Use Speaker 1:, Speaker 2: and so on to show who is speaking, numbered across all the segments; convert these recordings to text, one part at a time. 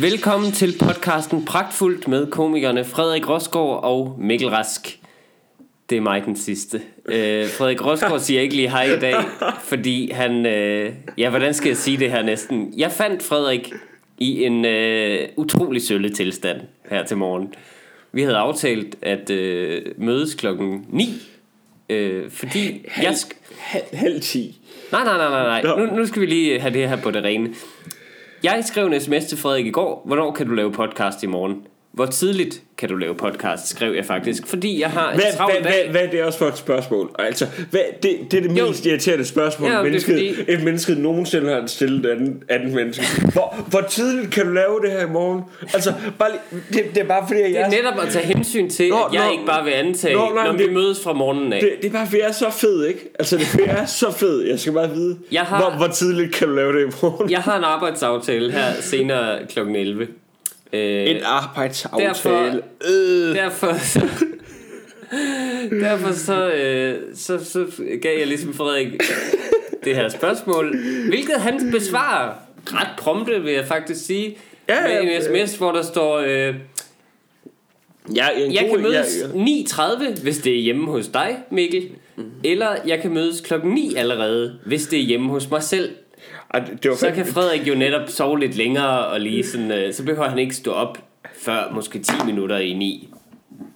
Speaker 1: Velkommen til podcasten Pragtfuldt med komikerne Frederik Rosgaard og Mikkel Rask. Det er mig den sidste. Øh, Frederik Rosgaard siger ikke lige hej i dag, fordi han... Øh, ja, hvordan skal jeg sige det her næsten? Jeg fandt Frederik i en øh, utrolig sølle tilstand her til morgen. Vi havde aftalt at øh, mødes klokken 9, øh, fordi jeg... Sk-
Speaker 2: Halv, halv 10.
Speaker 1: Nej, nej, nej, nej, nej.
Speaker 2: Nå.
Speaker 1: Nu, nu skal vi lige have det her på det rene. Jeg skrev en sms til Frederik i går. Hvornår kan du lave podcast i morgen? Hvor tidligt kan du lave podcast, skrev jeg faktisk. Fordi jeg har en
Speaker 2: Hvad,
Speaker 1: travl
Speaker 2: hvad,
Speaker 1: dag.
Speaker 2: hvad, hvad er det også for et spørgsmål? Altså, hvad, det, det er det
Speaker 1: Jo.
Speaker 2: mest irriterende spørgsmål,
Speaker 1: Ja,
Speaker 2: ja,
Speaker 1: det er
Speaker 2: mennesket,
Speaker 1: fordi-
Speaker 2: fordi... et menneske nogensinde har stillet et andet, andet menneske. Hvor, hvor tidligt kan du lave det her i morgen? Altså, bare lige, det, det er bare fordi, at
Speaker 1: Det
Speaker 2: jeg...
Speaker 1: er netop at tage hensyn til,
Speaker 2: Nå,
Speaker 1: at jeg
Speaker 2: nå.
Speaker 1: ikke bare vil antage,
Speaker 2: Nå, nej,
Speaker 1: når
Speaker 2: men
Speaker 1: vi
Speaker 2: det-
Speaker 1: mødes fra morgenen af.
Speaker 2: Det, det er bare fordi, jeg er så fed, ikke? Altså, det er fordi, jeg er så fed. Jeg skal bare vide,
Speaker 1: Jeg har-
Speaker 2: hvor, hvor tidligt kan du lave det i morgen?
Speaker 1: Jeg har en arbejdsaftale her senere kl. 11. Øh,
Speaker 2: En arbejdsaftale.
Speaker 1: Derfor-
Speaker 2: Øh.
Speaker 1: derfor så, derfor så, øh, så, så gav jeg ligesom Frederik det her spørgsmål, hvilket han besvarer ret prompte, vil jeg faktisk sige,
Speaker 2: Ja,
Speaker 1: med
Speaker 2: ja,
Speaker 1: en
Speaker 2: ja.
Speaker 1: sms, hvor der står, øh,
Speaker 2: Jeg, er en
Speaker 1: jeg
Speaker 2: god,
Speaker 1: kan
Speaker 2: jeg,
Speaker 1: mødes 9.30, hvis det er hjemme hos dig, Mikkel,
Speaker 2: Mhm.
Speaker 1: eller jeg kan mødes klokken 9 allerede, hvis det er hjemme hos mig selv.
Speaker 2: Ej, det var
Speaker 1: Så
Speaker 2: fandme-
Speaker 1: kan Frederik jo netop sove lidt længere, og lige sådan, øh, så behøver han ikke stå op før måske 10 minutter i 9.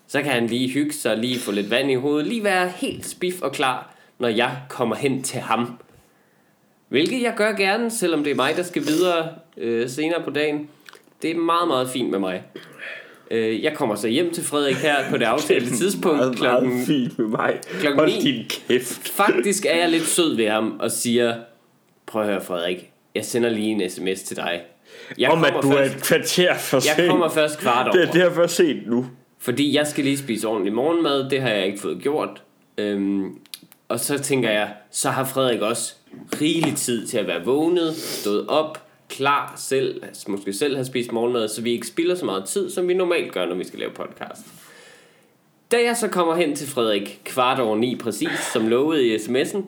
Speaker 1: Så kan han lige hygge sig, lige få lidt vand i hovedet, lige være helt spif og klar, når jeg kommer hen til ham. Hvilket jeg gør gerne, selvom det er mig, der skal videre øh, senere på dagen. Det er meget, meget fint med mig. Øh, jeg kommer så hjem til Frederik her på det aftalte tidspunkt
Speaker 2: meget,
Speaker 1: klokken
Speaker 2: meget fint med mig.
Speaker 1: klokken
Speaker 2: Hold
Speaker 1: ni.
Speaker 2: din kæft.
Speaker 1: Faktisk er jeg lidt sød ved ham og siger, prøv at høre Frederik, jeg sender lige en sms til dig. Jeg
Speaker 2: Om at du er
Speaker 1: først,
Speaker 2: et kvarter for sent.
Speaker 1: jeg kommer først kvart over,
Speaker 2: Det, er- det er for sent nu.
Speaker 1: fordi jeg skal lige spise ordentlig morgenmad, det har jeg ikke fået gjort. Øhm, og så tænker jeg, så har Frederik også rigelig tid til at være vågnet, stået op, klar selv, måske selv har spist morgenmad, så vi ikke spilder så meget tid, som vi normalt gør, når vi skal lave podcast. Da jeg så kommer hen til Frederik kvart over ni præcis, som lovede i sms'en,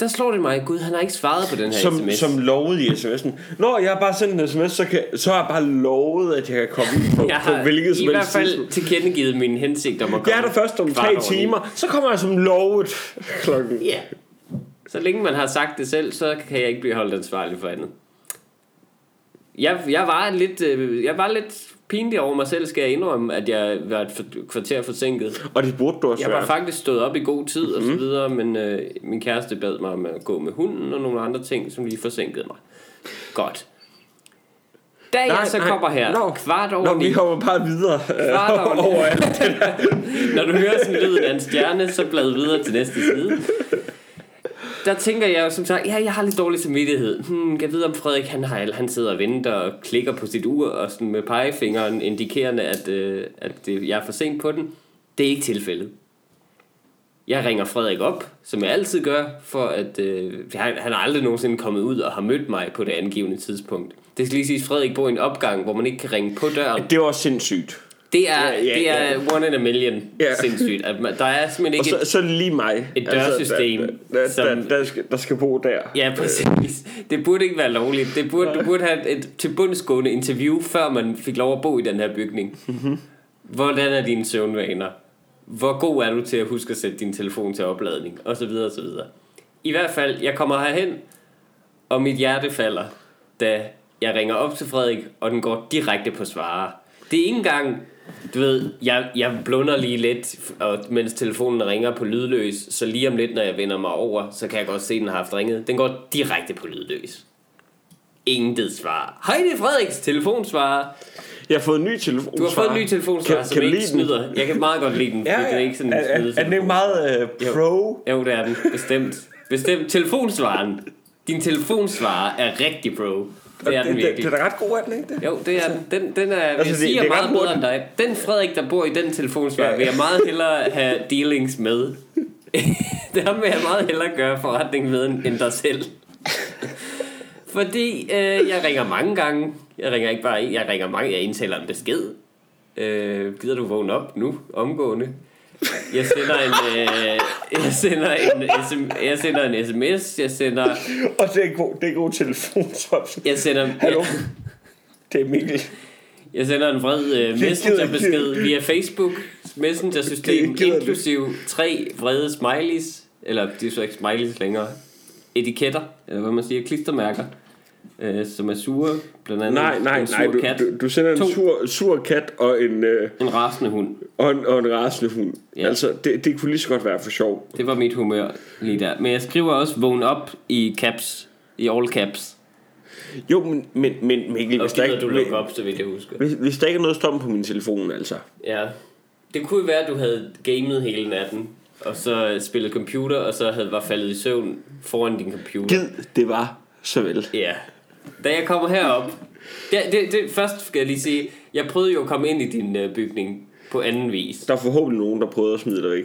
Speaker 1: der slår det mig, gud, han har ikke svaret på den her
Speaker 2: Som,
Speaker 1: sms.
Speaker 2: som lovet i sms'en. Når jeg har bare sendt en sms, så, kan, så har jeg bare lovet, at jeg kan komme ind på,
Speaker 1: jeg
Speaker 2: på
Speaker 1: har
Speaker 2: hvilket
Speaker 1: i
Speaker 2: som
Speaker 1: hvert
Speaker 2: helst
Speaker 1: fald
Speaker 2: tidspunkt.
Speaker 1: tilkendegivet min hensigt om at komme
Speaker 2: Jeg er der først om
Speaker 1: kvart
Speaker 2: tre
Speaker 1: over ni.
Speaker 2: timer, så kommer jeg som lovet klokken.
Speaker 1: Ja. Så længe man har sagt det selv, så kan jeg ikke blive holdt ansvarlig for andet. Jeg, jeg, var lidt, øh, jeg var lidt pinlig over mig selv, skal jeg indrømme, at jeg var et for- kvarter forsinket.
Speaker 2: Og det burde du også
Speaker 1: Jeg var
Speaker 2: være.
Speaker 1: faktisk stået op i god tid og så
Speaker 2: Mhm.
Speaker 1: videre, men øh, min kæreste bad mig om at gå med hunden og nogle andre ting, som lige forsinkede mig. Godt. Da jeg
Speaker 2: Nej,
Speaker 1: så
Speaker 2: nej.
Speaker 1: kommer her,
Speaker 2: Nå.
Speaker 1: kvart over
Speaker 2: Nå,
Speaker 1: ni,
Speaker 2: vi kommer bare videre
Speaker 1: Kvart over
Speaker 2: øh,
Speaker 1: ni.
Speaker 2: over alt.
Speaker 1: Når du hører sådan lyden af en stjerne, så blad videre til næste side. Der tænker jeg jo som sagt, ja, jeg har lidt dårlig samvittighed. Hmm, jeg ved om Frederik, han, har, han sidder og venter og klikker på sit ur og sådan med pegefingeren indikerende, at, øh, at det, jeg er for sent på den. Det er ikke tilfældet. Jeg ringer Frederik op, som jeg altid gør, for at øh, han, han er aldrig nogensinde kommet ud og har mødt mig på det angivende tidspunkt. Det skal lige sige, at Frederik bor i en opgang, hvor man ikke kan ringe på døren.
Speaker 2: Det var sindssygt.
Speaker 1: Det er,
Speaker 2: Ja, ja,
Speaker 1: det er one in a million
Speaker 2: Ja.
Speaker 1: sindssygt. At man, der er simpelthen
Speaker 2: Og
Speaker 1: ikke...
Speaker 2: så,
Speaker 1: et,
Speaker 2: så er det lige mig.
Speaker 1: et dørsystem,
Speaker 2: Altså, der, der, der,
Speaker 1: som-
Speaker 2: der, der, skal, der skal bo der.
Speaker 1: ja, præcis. Det burde ikke være lovligt. Det burde, du burde have et tilbundsgående interview, før man fik lov at bo i den her bygning.
Speaker 2: Mhm.
Speaker 1: Hvordan er dine søvnvaner? Hvor god er du til at huske at sætte din telefon til opladning? Og så videre, og så videre. I hvert fald, jeg kommer herhen, og mit hjerte falder, da jeg ringer op til Frederik, og den går direkte på svarer. Det er ikke engang, du ved, jeg, jeg blunder lige lidt, og mens telefonen ringer på lydløs, så lige om lidt, når jeg vender mig over, så kan jeg godt se, at den har haft ringet. Den går direkte på lydløs. Intet svar. Hej, det er Frederiks telefonsvarer.
Speaker 2: Jeg har fået en ny telefon.
Speaker 1: Du har fået en ny telefonsvarer, som
Speaker 2: du
Speaker 1: ikke
Speaker 2: lide den?
Speaker 1: snyder. Jeg kan meget godt lide den,
Speaker 2: Ja,
Speaker 1: fordi den
Speaker 2: ja.
Speaker 1: er ikke sådan en
Speaker 2: er, er, er
Speaker 1: snydetelefon.
Speaker 2: den ikke meget øh, pro?
Speaker 1: Jo, det er den. Bestemt. Bestemt. Telefonsvaren. Din telefonsvarer er rigtig bro. Det er den
Speaker 2: det,
Speaker 1: virkelig.
Speaker 2: det, er da ret god, er den ikke det?
Speaker 1: Jo, det er den. Den, den er, altså, jeg
Speaker 2: det-
Speaker 1: siger
Speaker 2: det er
Speaker 1: meget
Speaker 2: ret
Speaker 1: bedre end
Speaker 2: hurtigt.
Speaker 1: dig. Den Frederik, der bor i den telefonsvar,
Speaker 2: Ja.
Speaker 1: vil jeg meget hellere have dealings med. det ham vil jeg meget hellere gøre forretning med end end dig selv. Fordi øh, jeg ringer mange gange. Jeg ringer ikke bare en, jeg ringer mange. Jeg indtaler en besked. Øh, gider du vågne op nu, omgående? Jeg sender en, øh, jeg sender en, sm, jeg sender en sms, jeg sender,
Speaker 2: Og det er en god, det er en god telefonsvar.
Speaker 1: jeg sender,
Speaker 2: Hallo?
Speaker 1: jeg,
Speaker 2: Det Det er Mikkel.
Speaker 1: Jeg sender en vred øh, messengerbesked via Facebook Messenger-system,
Speaker 2: Det gider jeg ikke.
Speaker 1: inklusiv tre vrede smileys, eller det er så ikke smileys længere, etiketter, eller hvad man siger, klistermærker, øh, som er sure, blandt andet
Speaker 2: Nej, nej,
Speaker 1: en sur
Speaker 2: nej. Du,
Speaker 1: kat,
Speaker 2: du, du sender en
Speaker 1: To.
Speaker 2: sur, sur kat og en, øh,
Speaker 1: en rasende hund.
Speaker 2: og en, og en rasende hund.
Speaker 1: Ja.
Speaker 2: Altså, det, det kunne lige så godt være for sjov.
Speaker 1: Det var mit humør lige der. Men jeg skriver også vågn op i caps, i all caps.
Speaker 2: Jo, men, men, men Mikkel,
Speaker 1: Og
Speaker 2: hvis der,
Speaker 1: gider du lukke
Speaker 2: ikke,
Speaker 1: op, så vidt jeg husker.
Speaker 2: hvis, hvis der ikke er noget strøm på min telefon, altså.
Speaker 1: Ja. Det kunne jo være, at du havde gamet hele natten, og så spillet computer, og så havde var faldet i søvn foran din computer.
Speaker 2: Gid, det var så vel.
Speaker 1: Ja. Da jeg kommer herop, det, det, det, først skal jeg lige sige, jeg prøvede jo at komme ind i din øh, bygning på anden vis.
Speaker 2: Der er forhåbentlig nogen, der prøvede at smide dig væk.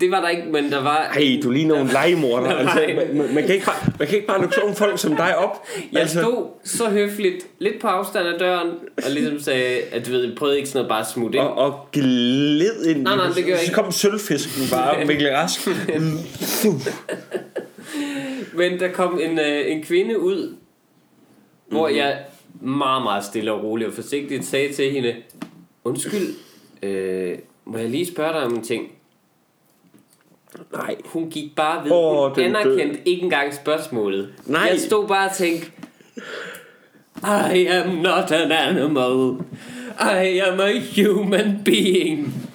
Speaker 1: Det var der ikke, men der var...
Speaker 2: Ej, du ligner en legemorder. Altså,
Speaker 1: Nej.
Speaker 2: man, man, man, kan ikke bare, man kan ikke bare lukke sådan nogle folk som dig op.
Speaker 1: Jeg
Speaker 2: altså,
Speaker 1: stod så høfligt, lidt på afstand af døren, og ligesom sagde, at du ved, jeg prøvede ikke sådan noget bare at smutte ind.
Speaker 2: og, og gled ind.
Speaker 1: Nej, nej, det gør jeg
Speaker 2: Så
Speaker 1: ikke.
Speaker 2: kom sølvfisken bare, Mikkel Rask. Mm,
Speaker 1: Men der kom en, øh, en kvinde ud, hvor
Speaker 2: Mhm.
Speaker 1: jeg meget, meget stille og roligt og forsigtigt sagde til hende, undskyld, øh, må jeg lige spørge dig om en ting? Nej, hun gik bare ved.
Speaker 2: Åh,
Speaker 1: Oh, hun
Speaker 2: den død.
Speaker 1: anerkendte ikke engang spørgsmålet.
Speaker 2: Nej.
Speaker 1: Jeg stod bare og tænkte, I am not an animal. I am a human being.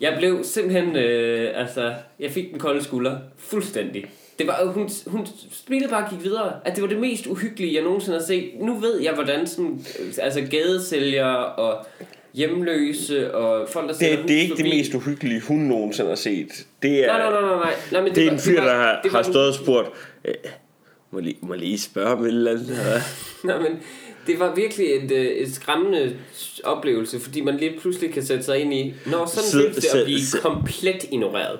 Speaker 1: Jeg blev simpelthen, øh, altså, jeg fik den kolde skulder fuldstændig. Det var, hun, hun spillede bare og gik videre, at det var det mest uhyggelige, jeg nogensinde har set. Nu ved jeg, hvordan sådan, øh, altså gadesælgere og hjemløse og folk, der sælger
Speaker 2: Det, det er
Speaker 1: hus
Speaker 2: ikke det
Speaker 1: forbi.
Speaker 2: mest uhyggelige, hun nogensinde har set. Det er,
Speaker 1: Nej, nej, nej, nej, nej. nej men
Speaker 2: det er
Speaker 1: var-
Speaker 2: en fyr,
Speaker 1: var-
Speaker 2: der har,
Speaker 1: det var
Speaker 2: har
Speaker 1: den-
Speaker 2: stået og spurgt, "Øh, må lige, må lige spørge om et eller andet her?"
Speaker 1: Nej, men det var virkelig et, øh, et skræmmende s- oplevelse, fordi man lige pludselig kan sætte sig ind i, når sådan
Speaker 2: Sid-
Speaker 1: føles det
Speaker 2: sid-
Speaker 1: at blive
Speaker 2: sid-
Speaker 1: komplet ignoreret.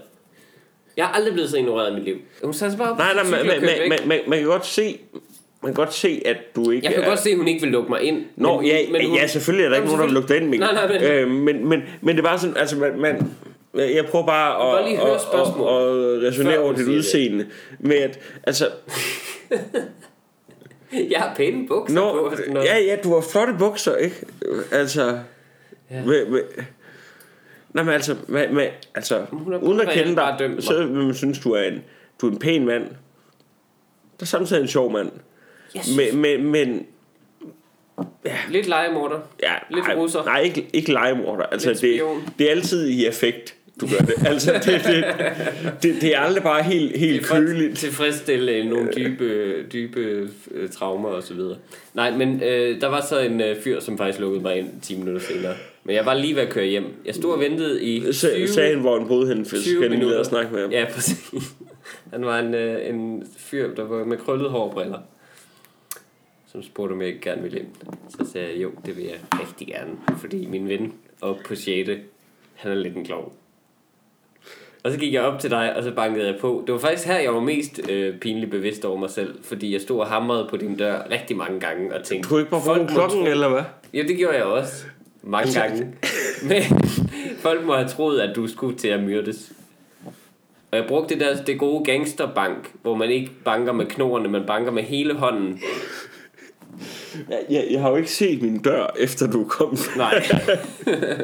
Speaker 1: Jeg har aldrig blevet så ignoreret i mit liv. Hun satte sig bare op
Speaker 2: Nej,
Speaker 1: på
Speaker 2: nej,
Speaker 1: sin cykel
Speaker 2: man,
Speaker 1: og kørte
Speaker 2: man,
Speaker 1: væk.
Speaker 2: man, man, man kan godt se, man kan godt se, at du ikke
Speaker 1: Jeg kan
Speaker 2: er...
Speaker 1: godt se, at hun ikke vil lukke mig ind.
Speaker 2: Nå, ja, ja, selvfølgelig er der ikke
Speaker 1: Jamen,
Speaker 2: nogen, der lukker
Speaker 1: selvfølgelig.
Speaker 2: ind, Mikkel.
Speaker 1: Nej, nej, men-
Speaker 2: øh, men, men, men det er bare sådan, altså, man, man jeg prøver bare
Speaker 1: bare
Speaker 2: at,
Speaker 1: lige høre
Speaker 2: at-
Speaker 1: spørgsmålet,
Speaker 2: at, at resonere
Speaker 1: før
Speaker 2: over
Speaker 1: du
Speaker 2: dit
Speaker 1: siger det.
Speaker 2: udseende med at, altså,
Speaker 1: Jeg har pæne bukser på.
Speaker 2: Nå,
Speaker 1: og sådan noget.
Speaker 2: ja, ja, du har flotte bukser, ikke? Øh, Altså... Ja.
Speaker 1: Ja.
Speaker 2: Med, med, nej, men altså, med, med, altså
Speaker 1: hun har
Speaker 2: uden at
Speaker 1: bare
Speaker 2: kende
Speaker 1: bare
Speaker 2: dig,
Speaker 1: dømt mig.
Speaker 2: så vil man synes, du er en, du er en pæn mand. Der er samtidig en sjov mand.
Speaker 1: Jeg synes,
Speaker 2: Men, men, men
Speaker 1: Lidt legemorder.
Speaker 2: ja,
Speaker 1: Lidt
Speaker 2: nej,
Speaker 1: russer.
Speaker 2: Nej, ikke, ikke legemorder. Altså,
Speaker 1: Lidt
Speaker 2: det,
Speaker 1: spion.
Speaker 2: det er altid i effekt, du gør det. Altså, det, det, det, det er aldrig bare helt, helt
Speaker 1: for at
Speaker 2: køligt.
Speaker 1: tilfredsstille nogle dybe, dybe øh, traumer og så videre. Nej, men øh, der var så en øh, fyr, som faktisk lukkede mig ind 10 minutter senere. Men jeg var lige ved at køre hjem. Jeg stod og ventede i 20,
Speaker 2: Så, sagen, hvor en boede henne, så
Speaker 1: 20
Speaker 2: kan jeg lige
Speaker 1: minutter.
Speaker 2: at snakke med ham.
Speaker 1: Ja, præcis. Han var en, øh, en fyr, der var med krøllede hårbriller. Som spurgte, om jeg ikke gerne ville hjem. Så sagde jeg, jo, det vil jeg rigtig gerne. Fordi min ven oppe på 6. Han er lidt en klog. Og så gik jeg op til dig, og så bankede jeg på. Det var faktisk her, jeg var mest øh, pinligt bevidst over mig selv. Fordi jeg stod og hamrede på din dør rigtig mange gange og tænkte...
Speaker 2: Du kunne ikke bare
Speaker 1: "Folk
Speaker 2: bruge
Speaker 1: må
Speaker 2: klokken, eller hvad?
Speaker 1: Ja, det gjorde jeg også. Mange gange. Men folk må have troet, at du skulle til at myrdes. Og jeg brugte det, der, det gode gangsterbank, hvor man ikke banker med knoerne, man banker med hele hånden.
Speaker 2: Jeg, jeg, jeg har jo ikke set min dør, efter du kom.
Speaker 1: Nej.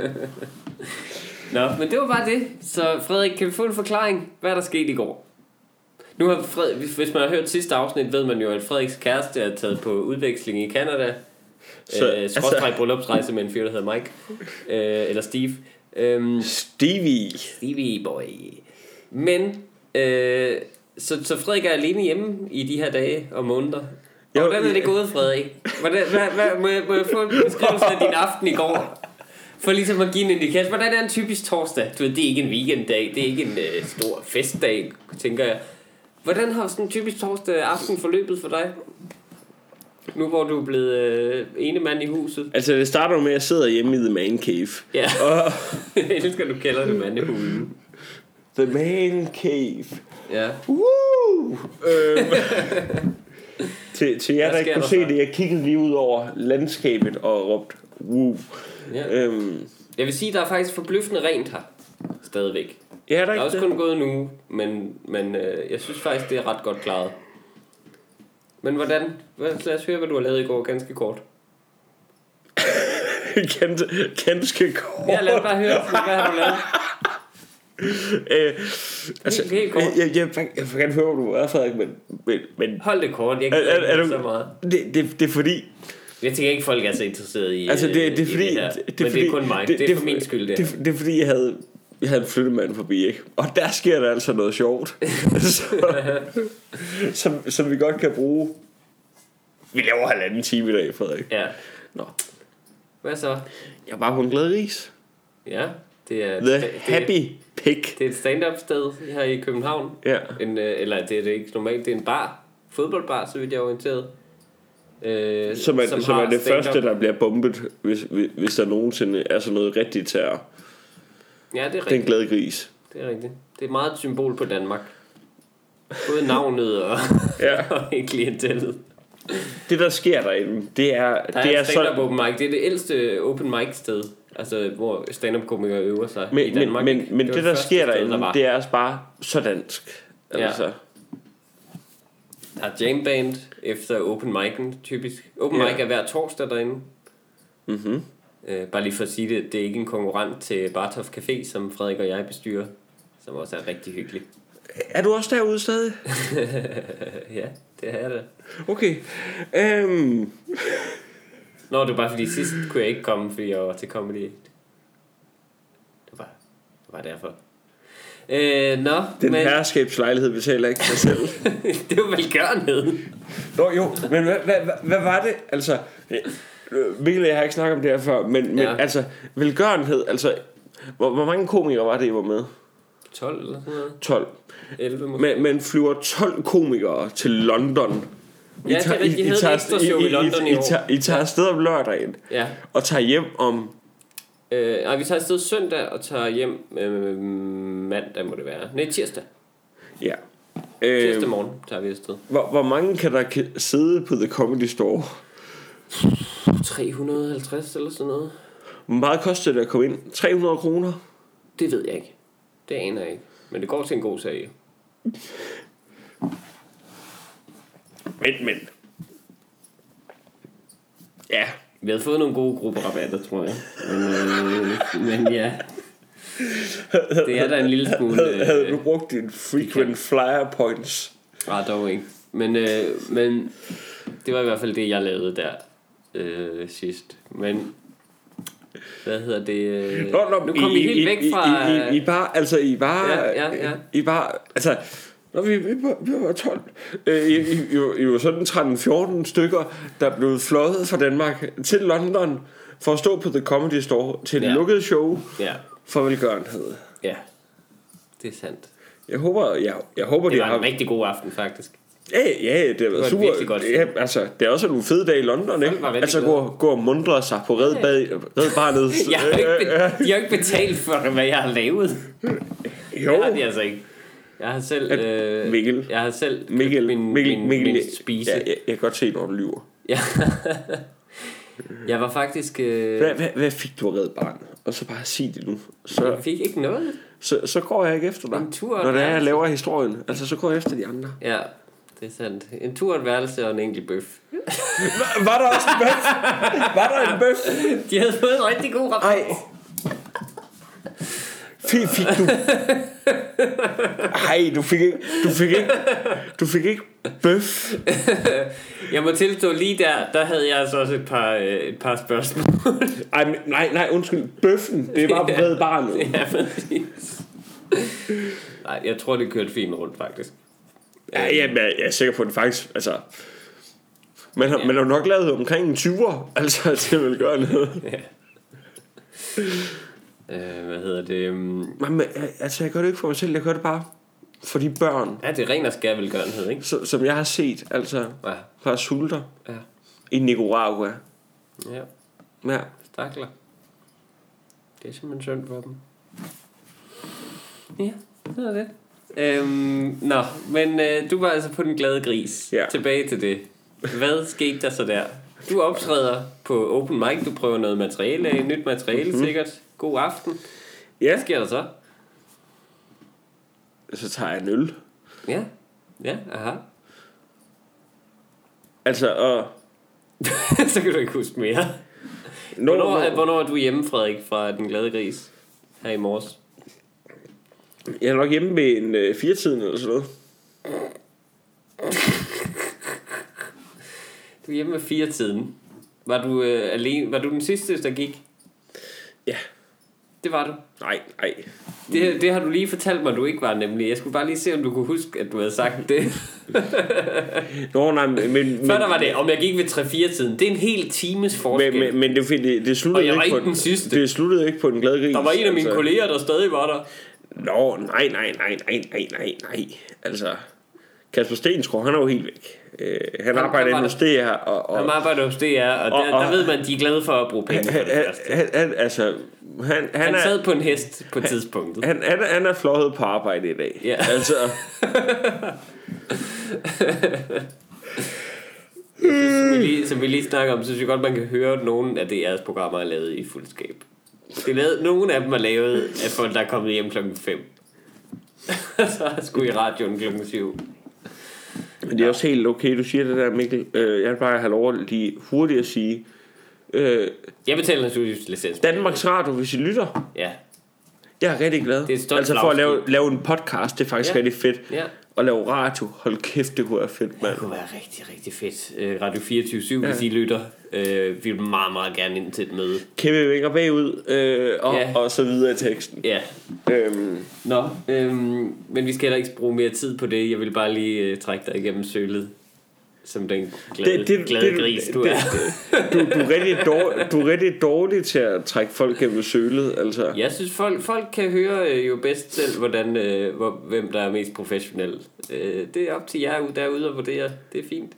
Speaker 1: Nå, men det var bare det. Så Frederik, kan vi få en forklaring? Hvad er der sket i går? Nu har Fred, hvis hvis man har hørt sidste afsnit, ved man jo, at Frederiks kæreste er taget på udveksling i Kanada.
Speaker 2: Så,
Speaker 1: Så, øh,
Speaker 2: altså-
Speaker 1: skråstreg bryllupsrejse med en fyr, der hedder Mike. Øh, eller Steve. Øhm,
Speaker 2: Stevie.
Speaker 1: Stevie boy. Men, øh, så, så Frederik er alene hjemme i de her dage og måneder. Og
Speaker 2: Jo,
Speaker 1: hvordan er
Speaker 2: ja.
Speaker 1: det gået, Frederik? Hvordan, hvad, hvad, må, jeg, må jeg få en beskrivelse af din aften i går? For ligesom at give en indikation. Hvordan er en typisk torsdag? Du ved, det er ikke en weekenddag. Det er ikke en øh, stor festdag, tænker jeg. Hvordan har sådan en typisk torsdag aften forløbet for dig? Nu hvor du er blevet øh, ene mand i huset.
Speaker 2: Altså, det starter jo med, at jeg sidder hjemme i The Man Cave.
Speaker 1: Ja,
Speaker 2: Og
Speaker 1: jeg elsker, du kalder det mandehulen.
Speaker 2: The Man Cave.
Speaker 1: Ja.
Speaker 2: Woo! Øhm, til, til jer, der
Speaker 1: Hvad
Speaker 2: ikke
Speaker 1: sker
Speaker 2: kunne
Speaker 1: der
Speaker 2: se
Speaker 1: så?
Speaker 2: det, jeg kiggede lige ud over landskabet og råbte, woo.
Speaker 1: ja.
Speaker 2: Øhm,
Speaker 1: Jeg vil sige, der er faktisk forbløffende rent her. Stadigvæk.
Speaker 2: ja, der
Speaker 1: Der er
Speaker 2: er
Speaker 1: også
Speaker 2: ikke det.
Speaker 1: kun gået nu, men, men øh, jeg synes faktisk, det er ret godt klaret. Men hvordan? Hvad- Lad os høre, hvad du har lavet i går ganske kort.
Speaker 2: ganske, ganske kort.
Speaker 1: Ja, lad os bare høre, hvad har du lavet?
Speaker 2: Øh, altså,
Speaker 1: Helt- helt kort.
Speaker 2: Jeg, jeg, jeg, jeg, jeg kan gerne høre, hvor du er, Frederik, men... men, men
Speaker 1: Hold det kort, jeg
Speaker 2: er, er,
Speaker 1: kan
Speaker 2: er
Speaker 1: ikke
Speaker 2: du,
Speaker 1: så meget.
Speaker 2: det, det, det er fordi,
Speaker 1: Jeg tænker ikke, folk er så interesserede i
Speaker 2: Altså det, det,
Speaker 1: øh,
Speaker 2: er
Speaker 1: i
Speaker 2: fordi,
Speaker 1: det her.
Speaker 2: det,
Speaker 1: Men
Speaker 2: fordi,
Speaker 1: det er kun mig. Det, det er for min skyld, det,
Speaker 2: det, det, det er fordi, jeg havde, jeg havde en flyttemand forbi, ikke? Og der sker der altså noget sjovt, så, som, som vi godt kan bruge. Vi laver halvanden time i dag, Frederik.
Speaker 1: her. Ja.
Speaker 2: Nå,
Speaker 1: Hvad så?
Speaker 2: jeg var på en glad ris.
Speaker 1: Ja, det er...
Speaker 2: The
Speaker 1: det, Det,
Speaker 2: Happy Pig.
Speaker 1: det er et stand-up sted her i København.
Speaker 2: Ja.
Speaker 1: En, øh, eller det er det ikke normalt, det er en bar. Fodboldbar, så vidt jeg er orienteret. Øh,
Speaker 2: Som er, som som
Speaker 1: har
Speaker 2: er det
Speaker 1: stand-up.
Speaker 2: første, der bliver bombet, hvis, hvis- hvis der nogensinde er sådan noget rigtigt terror.
Speaker 1: Ja, det er
Speaker 2: Den
Speaker 1: rigtigt.
Speaker 2: glade gris.
Speaker 1: Det er rigtigt. Det er meget et symbol på Danmark. Både navnet og,
Speaker 2: Ja.
Speaker 1: og klientellet.
Speaker 2: Det, der sker derinde, det er...
Speaker 1: Der
Speaker 2: det
Speaker 1: er,
Speaker 2: er
Speaker 1: et
Speaker 2: sådan,
Speaker 1: stand-up open mic. Det er det ældste open mic sted, altså hvor stand-up komikere øver sig i
Speaker 2: Men,
Speaker 1: Danmark.
Speaker 2: men, men,
Speaker 1: ikke?
Speaker 2: men
Speaker 1: var
Speaker 2: det, der
Speaker 1: første
Speaker 2: sker
Speaker 1: sted,
Speaker 2: derinde,
Speaker 1: var.
Speaker 2: det er også bare så dansk.
Speaker 1: Ja.
Speaker 2: Altså,
Speaker 1: Der er jamband efter open mic'en, typisk. Open
Speaker 2: Ja.
Speaker 1: mic er hver torsdag derinde.
Speaker 2: Mhm.
Speaker 1: Mm-hmm. Bare lige for at sige det, det er ikke en konkurrent til Bartof Café, som Frederik og jeg bestyrer, som også er rigtig hyggelig.
Speaker 2: Er du også derude stadig?
Speaker 1: Ja, det er det.
Speaker 2: Okay. Øhm,
Speaker 1: Nå, det var bare fordi sidst kunne jeg ikke komme, fordi jeg var til comedy. Det var, det var derfor. Øh, nå,
Speaker 2: den
Speaker 1: men
Speaker 2: men... herskabslejlighed betaler ikke sig selv.
Speaker 1: det var velgørenhed.
Speaker 2: Nå jo, men hvad, hvad, hvad, hvad var det? Altså, øh, Mikkel og jeg har ikke snakket om det her før, men, men
Speaker 1: Ja.
Speaker 2: altså, velgørenhed, altså, hvor, hvor mange komikere var det, I var med?
Speaker 1: 12 eller sådan noget.
Speaker 2: 12.
Speaker 1: 11 måske.
Speaker 2: Men, men flyver 12 komikere til London.
Speaker 1: Ja, det er rigtigt. I havde et ekstra show i London i
Speaker 2: I,
Speaker 1: år.
Speaker 2: tager, I tager afsted om lørdagen
Speaker 1: Ja.
Speaker 2: og tager hjem om
Speaker 1: Øh, nej, vi tager afsted søndag og tager hjem øh, mandag, må det være. Nej, tirsdag.
Speaker 2: Ja.
Speaker 1: Tirsdag
Speaker 2: Øh,
Speaker 1: morgen tager vi afsted.
Speaker 2: hvor, hvor mange kan der ke- sidde på The Comedy Store?
Speaker 1: 350 eller sådan noget.
Speaker 2: Hvor meget koster det at komme ind? 300 kroner?
Speaker 1: Det ved jeg ikke. Det aner jeg ikke. Men det går til en god sag.
Speaker 2: Men, men. Ja.
Speaker 1: Vi havde fået nogle gode grupperabatter, tror jeg. Men, øh, men ja. Det er da en lille smule...
Speaker 2: Havde, havde
Speaker 1: Øh,
Speaker 2: du brugt dine frequent flyer points?
Speaker 1: ah, dog ikke. Men, øh, men det var i hvert fald det, jeg lavede der øh, sidst. Men hvad hedder det? Øh, nu kom vi helt væk fra... øh,
Speaker 2: I, I, I, I bare, altså, I bare...
Speaker 1: Ja, ja, ja.
Speaker 2: I bare, altså... Nå, vi, vi, var, vi var 12. Øh, I, I, I, var- I var sådan 13-14 stykker, der blev fløjet fra Danmark til London for at stå på The Comedy Store til et
Speaker 1: Ja.
Speaker 2: lukket show.
Speaker 1: Ja,
Speaker 2: for velgørenhed.
Speaker 1: ja. Det er sandt.
Speaker 2: Jeg håber, jeg, jeg håber,
Speaker 1: Det
Speaker 2: de
Speaker 1: var
Speaker 2: har...
Speaker 1: en rigtig god aften, faktisk.
Speaker 2: Ja, ja, det har
Speaker 1: var
Speaker 2: været
Speaker 1: et
Speaker 2: super.
Speaker 1: virkelig godt
Speaker 2: ja, altså, det er også nogle fede dage i London, ikke?
Speaker 1: var vældig
Speaker 2: Altså, gå, gå og mundre sig på red, bad, red barnet.
Speaker 1: Jeg har ikke, be- de har ikke betalt for, hvad jeg har lavet.
Speaker 2: Øh, jo,
Speaker 1: Det har de altså ikke. Jeg har selv... Øh,
Speaker 2: Mikkel.
Speaker 1: Jeg har selv købt
Speaker 2: Mikkel,
Speaker 1: min,
Speaker 2: Mikkel,
Speaker 1: min,
Speaker 2: Mikkel,
Speaker 1: min spise.
Speaker 2: Ja, jeg, jeg kan godt se, når du lyver.
Speaker 1: Ja. jeg var faktisk... Øh,
Speaker 2: Hvad, hvad, hvad fik du af red barnet? Og så bare sig det nu. Så,
Speaker 1: jeg fik ikke noget.
Speaker 2: så, så går jeg ikke efter dig.
Speaker 1: En tur,
Speaker 2: Når det er,
Speaker 1: ja.
Speaker 2: jeg laver historien. Altså, så går jeg efter de andre.
Speaker 1: Ja, det er sandt. En tur, et værelse og en enkelt bøf.
Speaker 2: Var, var der også en bøf? Var der en bøf?
Speaker 1: De havde fået en rigtig god rapport.
Speaker 2: Ej. Fik, fik du... Ej, du fik ikke... Du fik ikke... Du fik ikke bøf.
Speaker 1: Jeg må tilstå lige der, der havde jeg altså også et par, øh, et par spørgsmål.
Speaker 2: Ej, men- nej, nej, undskyld. Bøffen, det var på Red Barnet.
Speaker 1: ja, præcis. Nej, jeg tror, det kørte fint rundt, faktisk.
Speaker 2: Ja, ja, men jeg er sikker på, at det faktisk... Altså, man har, man har jo nok lavet omkring en 20'er, altså til at vil gøre noget.
Speaker 1: Ja. Øh, hvad hedder det? Øhm,
Speaker 2: Men, men, altså, jeg gør det ikke for mig selv, jeg gør det bare for de børn,
Speaker 1: Ja, det er ren og skær velgørenhed, ikke?
Speaker 2: som, som jeg har set, altså,
Speaker 1: Ja,
Speaker 2: fra sulter
Speaker 1: ja,
Speaker 2: i Nicaragua.
Speaker 1: ja.
Speaker 2: Ja.
Speaker 1: Stakler. Det er simpelthen synd for dem. Ja, det er det. Øhm, nå, men øh, du var altså på den glade gris.
Speaker 2: Ja.
Speaker 1: Tilbage til det. Hvad skete der så der? Du optræder på open mic, du prøver noget materiale af, nyt materiale mm-hmm. sikkert. God aften.
Speaker 2: Mhm. ja,
Speaker 1: Hvad sker der så?
Speaker 2: så tager jeg en øl.
Speaker 1: Ja, ja, aha.
Speaker 2: Altså, og...
Speaker 1: så kan du ikke huske mere.
Speaker 2: Nå,
Speaker 1: Hvornår,
Speaker 2: nå.
Speaker 1: er, hvornår er du hjemme, Frederik, fra Den Glade Gris? Her i morges.
Speaker 2: Jeg er nok hjemme ved en øh, firetiden eller sådan noget.
Speaker 1: Du er hjemme ved fire tiden. Var du øh, alene? Var du den sidste, der gik?
Speaker 2: Ja.
Speaker 1: Det var du.
Speaker 2: Nej, nej. Mm.
Speaker 1: Det, det har du lige fortalt mig, du ikke var nemlig. Jeg skulle bare lige se, om du kunne huske, at du havde sagt det.
Speaker 2: Nå, nej, men... men
Speaker 1: Før der var det, om jeg gik ved 3-4-tiden. Det er en hel times forskel.
Speaker 2: men, men, men det, er fordi, det, det sluttede
Speaker 1: Og jeg var
Speaker 2: ikke
Speaker 1: ikke
Speaker 2: på
Speaker 1: den sidste.
Speaker 2: Det sluttede ikke på den glade gris.
Speaker 1: der var en af mine
Speaker 2: altså.
Speaker 1: kolleger, der stadig var der.
Speaker 2: Nå, nej, nej, nej, nej, nej, nej, nej. Altså, Kasper Stensgaard, han er jo helt væk. Øh, han, arbejder
Speaker 1: arbejder-
Speaker 2: inde hos DR, og, og
Speaker 1: Han arbejder hos DR, og,
Speaker 2: Og-
Speaker 1: og, der,
Speaker 2: og-
Speaker 1: der ved man, at de er glade for at bruge penge.
Speaker 2: han, han, han, han, altså, han, han,
Speaker 1: Han
Speaker 2: er,
Speaker 1: sad på en hest på tidspunktet.
Speaker 2: han, han, er- han er fløjet på arbejde i dag.
Speaker 1: Ja.
Speaker 2: Altså,
Speaker 1: Som vi, lige, som vi lige snakker om, synes jeg godt, man kan høre, at nogle af DR's programmer er lavet i fuldskab. Det er lavet, nogle af dem er lavet af folk, der er kommet hjem klokken 5. så skulle i radioen klokken 7.
Speaker 2: men det er også helt okay, du siger det der, Mikkel. Øh, jeg vil bare have lov at lige hurtigt at sige, øh,
Speaker 1: Jeg betaler naturligvis licens.
Speaker 2: Danmarks Radio, hvis I lytter,
Speaker 1: Ja,
Speaker 2: jeg er rigtig glad.
Speaker 1: Det er et stolt
Speaker 2: altså for at lave,
Speaker 1: flagskib.
Speaker 2: lave en podcast, det er faktisk
Speaker 1: Ja.
Speaker 2: ja. rigtig fedt.
Speaker 1: ja.
Speaker 2: At lave radio, hold kæft, det kunne være fedt, mand.
Speaker 1: Det kunne være rigtig, rigtig fedt. Øh, Radio 24 ja. hvis I lytter. Øh, vi vil meget, meget gerne ind til et møde.
Speaker 2: kæmpe vinger bagud, øh, og,
Speaker 1: Ja.
Speaker 2: ja. og så videre i teksten.
Speaker 1: Ja.
Speaker 2: Øhm,
Speaker 1: Nå, øhm, men vi skal heller ikke bruge mere tid på det. Jeg vil bare lige øh, trække dig igennem sølet. Som den glade, det, det, glade det, gris, du det, er.
Speaker 2: du, du, er rigtig dårlig, du er rigtig dårlig til at trække folk gennem sølet, altså. Ja.
Speaker 1: Jeg synes, folk, folk kan høre øh, jo bedst selv, hvordan, øh, hvor, hvem der er mest professionel. Øh, det er op til jer ude derude at vurdere. Det er fint.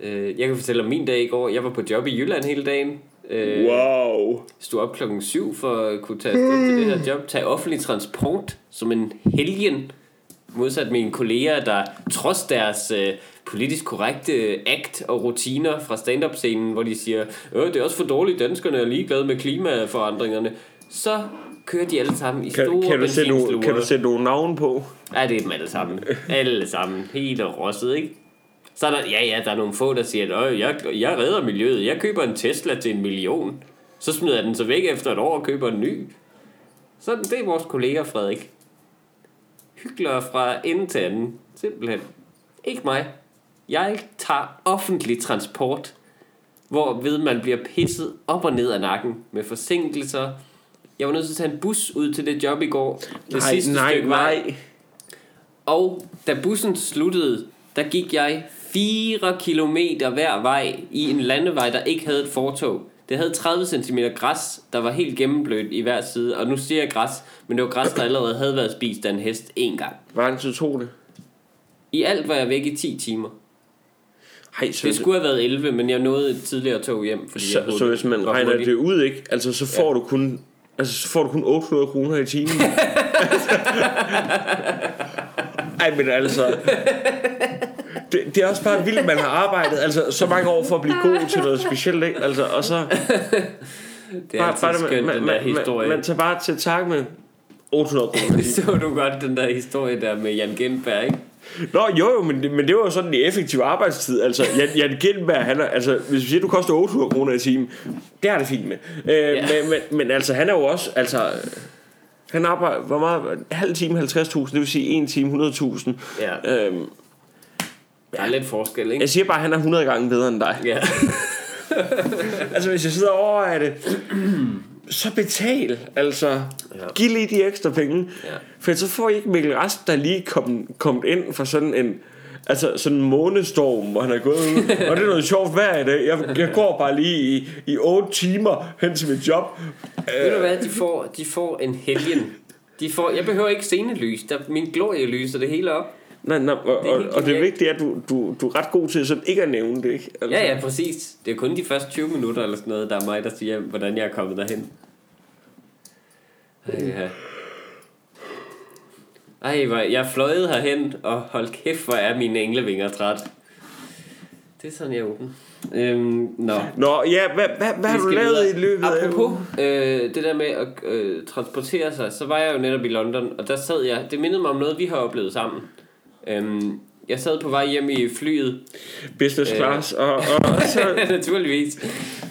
Speaker 1: Øh, jeg kan fortælle om min dag i går. Jeg var på job i Jylland hele dagen. Øh,
Speaker 2: Wow.
Speaker 1: stod op klokken 7 for at kunne tage afsted til det her job, tage offentlig transport som en helgen, modsat mine kolleger, der trods deres øh, politisk korrekte akt og rutiner fra stand-up-scenen, hvor de siger, øh, det er også for dårligt, danskerne er ligeglade med klimaforandringerne, så kører de alle sammen i
Speaker 2: Kan,
Speaker 1: store
Speaker 2: kan, du sætte nogle,
Speaker 1: benzinslugere.
Speaker 2: kan du sætte nogle navn på?
Speaker 1: Ja, det er dem alle sammen. Alle sammen. Helt rosset, ikke? Så er der, ja, ja, der er nogle få, der siger, at jeg, jeg redder miljøet. Jeg køber en Tesla til en million. Så smider jeg den så væk efter et år og køber en ny. Sådan, det er vores kollega Frederik. Hyggeligere fra ende til anden. Simpelthen. Ikke mig. Jeg tager offentlig transport, hvorved man bliver pisset op og ned af nakken med forsinkelser. Jeg var nødt til at tage en bus ud til det job i går. Det sidste
Speaker 2: nej,
Speaker 1: stykke vej.
Speaker 2: nej.
Speaker 1: Og da bussen sluttede, der gik jeg 4 kilometer hver vej i en landevej, der ikke havde et fortog. Det havde 30 cm græs, der var helt gennemblødt i hver side. Og nu siger jeg græs, men det var græs, der allerede havde været spist af en hest en gang.
Speaker 2: Hvordan så tog det?
Speaker 1: I alt var jeg væk i 10 timer.
Speaker 2: Ej, så,
Speaker 1: Det skulle have været 11, men jeg nåede et tidligere tog hjem. Fordi jeg
Speaker 2: så, så, hvis man
Speaker 1: var
Speaker 2: regner
Speaker 1: hurtig.
Speaker 2: det ud, ikke? Altså, så får du kun... Altså, så får du kun 800 kroner i timen. Ej, men altså... Det, det er også bare vildt, man har arbejdet altså, så mange år for at blive god til noget specielt, ikke? Altså, og så...
Speaker 1: Det er altid skønt, den der historie.
Speaker 2: Man, man tager bare til tak med 800 kroner.
Speaker 1: det så du godt, den der historie der med Jan Genberg, ikke?
Speaker 2: Nå, jo, jo, men det, men det var jo sådan en effektiv arbejdstid. Altså, Jan, Jan Gindberg, han er, altså, hvis vi siger, du koster 800 kroner i timen, det har det fint med. Øh, ja. men, men, men, altså, han er jo også, altså, han arbejder, hvor meget, halv time 50.000, det vil sige en time 100.000.
Speaker 1: Ja,
Speaker 2: Øh,
Speaker 1: der er lidt forskel, ikke?
Speaker 2: jeg siger bare, at han er 100 gange bedre end dig.
Speaker 1: Ja.
Speaker 2: Altså, hvis jeg sidder og overvejer det, så betal. Altså,
Speaker 1: Ja.
Speaker 2: ja. giv lige de ekstra penge.
Speaker 1: Ja.
Speaker 2: For ellers så får I ikke Mikkel Rast, der lige kom, kom ind for sådan en... Altså sådan en månestorm, hvor han er gået ud. Og det er noget sjovt hver i dag. Jeg, jeg går bare lige i, i 8 timer hen til mit job. Øh,
Speaker 1: Ved du hvad, de får, de får en helgen. De får, jeg behøver ikke scenelys. Der, min glorie lyser det hele op.
Speaker 2: Nej, nej, og,
Speaker 1: Det er
Speaker 2: og,
Speaker 1: helt
Speaker 2: og det
Speaker 1: genialt.
Speaker 2: vigtige er, at du, du, du er ret god til sådan ikke at nævne det, ikke? Altså,
Speaker 1: Ja, ja, præcis. Det er kun de første 20 minutter eller sådan noget, der er mig, der siger, hvordan jeg er kommet derhen. Ej, ja. Ej, hvor jeg fløjede herhen, og hold kæft, hvor er mine englevinger træt. Det er sådan, jeg er åben. Øhm, nå.
Speaker 2: Nå, ja, hvad, hvad, hvad har
Speaker 1: Vi
Speaker 2: du
Speaker 1: skal
Speaker 2: lavet
Speaker 1: videre.
Speaker 2: i løbet af
Speaker 1: Apropos
Speaker 2: ugen?
Speaker 1: øh, det der med at øh, transportere sig, så var jeg jo netop i London, og der sad jeg, det mindede mig om noget, vi har oplevet sammen. Øhm, jeg sad på vej hjem i flyet. Øh.
Speaker 2: Business class, og, og så
Speaker 1: Naturligvis.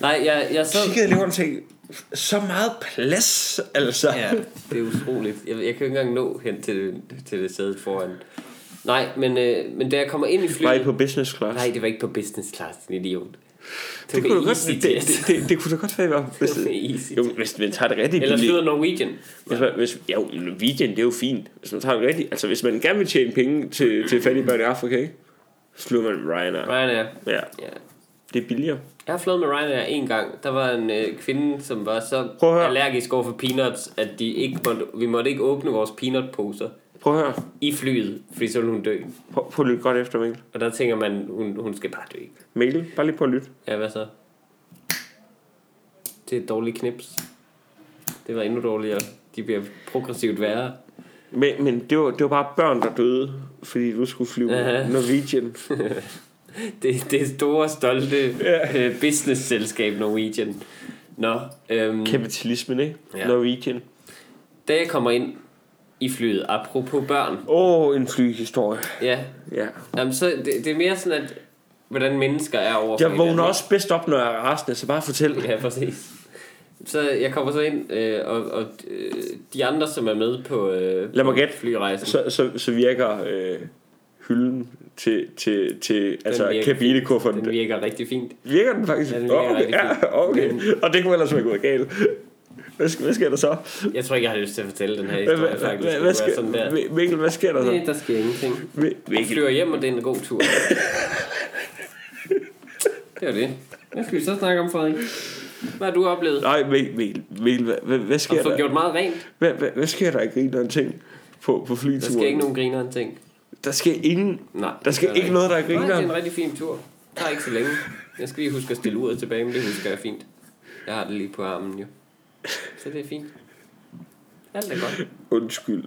Speaker 1: Nej, jeg, jeg sad...
Speaker 2: kiggede eleverne og tænkte, så meget plads, altså.
Speaker 1: Ja, det er utroligt. Jeg, jeg kan jo ikke engang nå hen til, til det sæde foran. Nej, men, øh, men da jeg kommer ind i flyet...
Speaker 2: Var I på business class?
Speaker 1: Nej, det var ikke på business class, din idiot.
Speaker 2: det, kunne da godt, det, det,
Speaker 1: det,
Speaker 2: det, det, kunne da godt være, at hvis,
Speaker 1: var easy
Speaker 2: jo, hvis man tager det rigtigt
Speaker 1: Eller
Speaker 2: billigt.
Speaker 1: flyder Norwegian.
Speaker 2: Hvis man, hvis, ja, jo, weekend, det er jo fint. Hvis man tager det rigtigt. Altså, hvis man gerne vil tjene penge til, til fattige børn i Afrika, ikke? så flyver man Ryanair.
Speaker 1: Ryanair.
Speaker 2: Ja,
Speaker 1: Ja.
Speaker 2: det er billigere.
Speaker 1: Jeg har flået med Ryanair en gang. Der var en øh, kvinde, som var så
Speaker 2: Prøv at høre.
Speaker 1: allergisk over for peanuts, at de ikke måtte, vi måtte ikke åbne vores peanutposer
Speaker 2: Prøv at høre.
Speaker 1: i flyet, fordi så ville hun dø.
Speaker 2: Prøv, prøv at lytte godt efter, Mikkel.
Speaker 1: Og der tænker man, hun, hun skal bare dø.
Speaker 2: Mikkel, bare lige prøv at lytte.
Speaker 1: Ja, hvad så? Det er et dårligt knips. Det var endnu dårligere. De bliver progressivt værre.
Speaker 2: Men, men det, var, det var bare børn, der døde, fordi du skulle flyve
Speaker 1: Ja.
Speaker 2: Norwegian.
Speaker 1: Mm. Det, det store, stolte
Speaker 2: Ja.
Speaker 1: øh, business-selskab Norwegian. Nå, øhm,
Speaker 2: Kapitalismen, ikke?
Speaker 1: Ja.
Speaker 2: Norwegian.
Speaker 1: da jeg kommer ind i flyet, apropos børn,
Speaker 2: Åh, oh, en flyhistorie.
Speaker 1: ja,
Speaker 2: Ja.
Speaker 1: Jamen, så det, det er mere sådan, at hvordan mennesker er over for
Speaker 2: Jeg
Speaker 1: hinanden.
Speaker 2: vågner også bedst op, når jeg er rasende, så bare fortæl.
Speaker 1: Ja, præcis. Så jeg kommer så ind, øh, og, og øh, de andre, som er med på, øh,
Speaker 2: Lad mig
Speaker 1: på
Speaker 2: gætte.
Speaker 1: flyrejsen. Så...
Speaker 2: så, så, så virker øh, hylden til, til, til altså
Speaker 1: virker
Speaker 2: kabinekufferten.
Speaker 1: Den
Speaker 2: Den
Speaker 1: virker rigtig fint.
Speaker 2: virker den faktisk?
Speaker 1: Ja,
Speaker 2: Ja,
Speaker 1: den virker
Speaker 2: den okay,
Speaker 1: rigtig
Speaker 2: ja, okay. Og det kunne ellers være gået galt. Hvad, sk- hvad sker der så?
Speaker 1: Jeg tror ikke, jeg har lyst til at fortælle den her
Speaker 2: Hvad,
Speaker 1: historie,
Speaker 2: hvad,
Speaker 1: faktisk.
Speaker 2: hvad, altså-
Speaker 1: Det
Speaker 2: hvad,
Speaker 1: kunne være sådan der.
Speaker 2: sker, Mi- Mikkel, hvad sker der så?
Speaker 1: Nej, der sker ingenting.
Speaker 2: Mi-
Speaker 1: Jeg
Speaker 2: Mikkel,
Speaker 1: flyver hjem, og det er en god tur. det var det. Hvad skal vi så snakke om, Frederik? Hvad har du oplevet?
Speaker 2: nej, Mi- Mikkel, Mikkel hvad, hvad, hvad
Speaker 1: Har du
Speaker 2: sker
Speaker 1: fået
Speaker 2: der?
Speaker 1: gjort meget rent?
Speaker 2: Hvad, hvad, hvad sker der i grineren ting på, på flyturen?
Speaker 1: Der sker ikke nogen griner en ting.
Speaker 2: Der sker ingen...
Speaker 1: Nej.
Speaker 2: Der skal
Speaker 1: det er
Speaker 2: ikke noget, der er
Speaker 1: Nej, det
Speaker 2: grineren.
Speaker 1: er en rigtig fin tur. Det tager ikke så længe. Jeg skal lige huske at stille uret tilbage, men det husker jeg fint. Jeg har det lige på armen jo. Så det er fint. Alt er godt.
Speaker 2: Undskyld.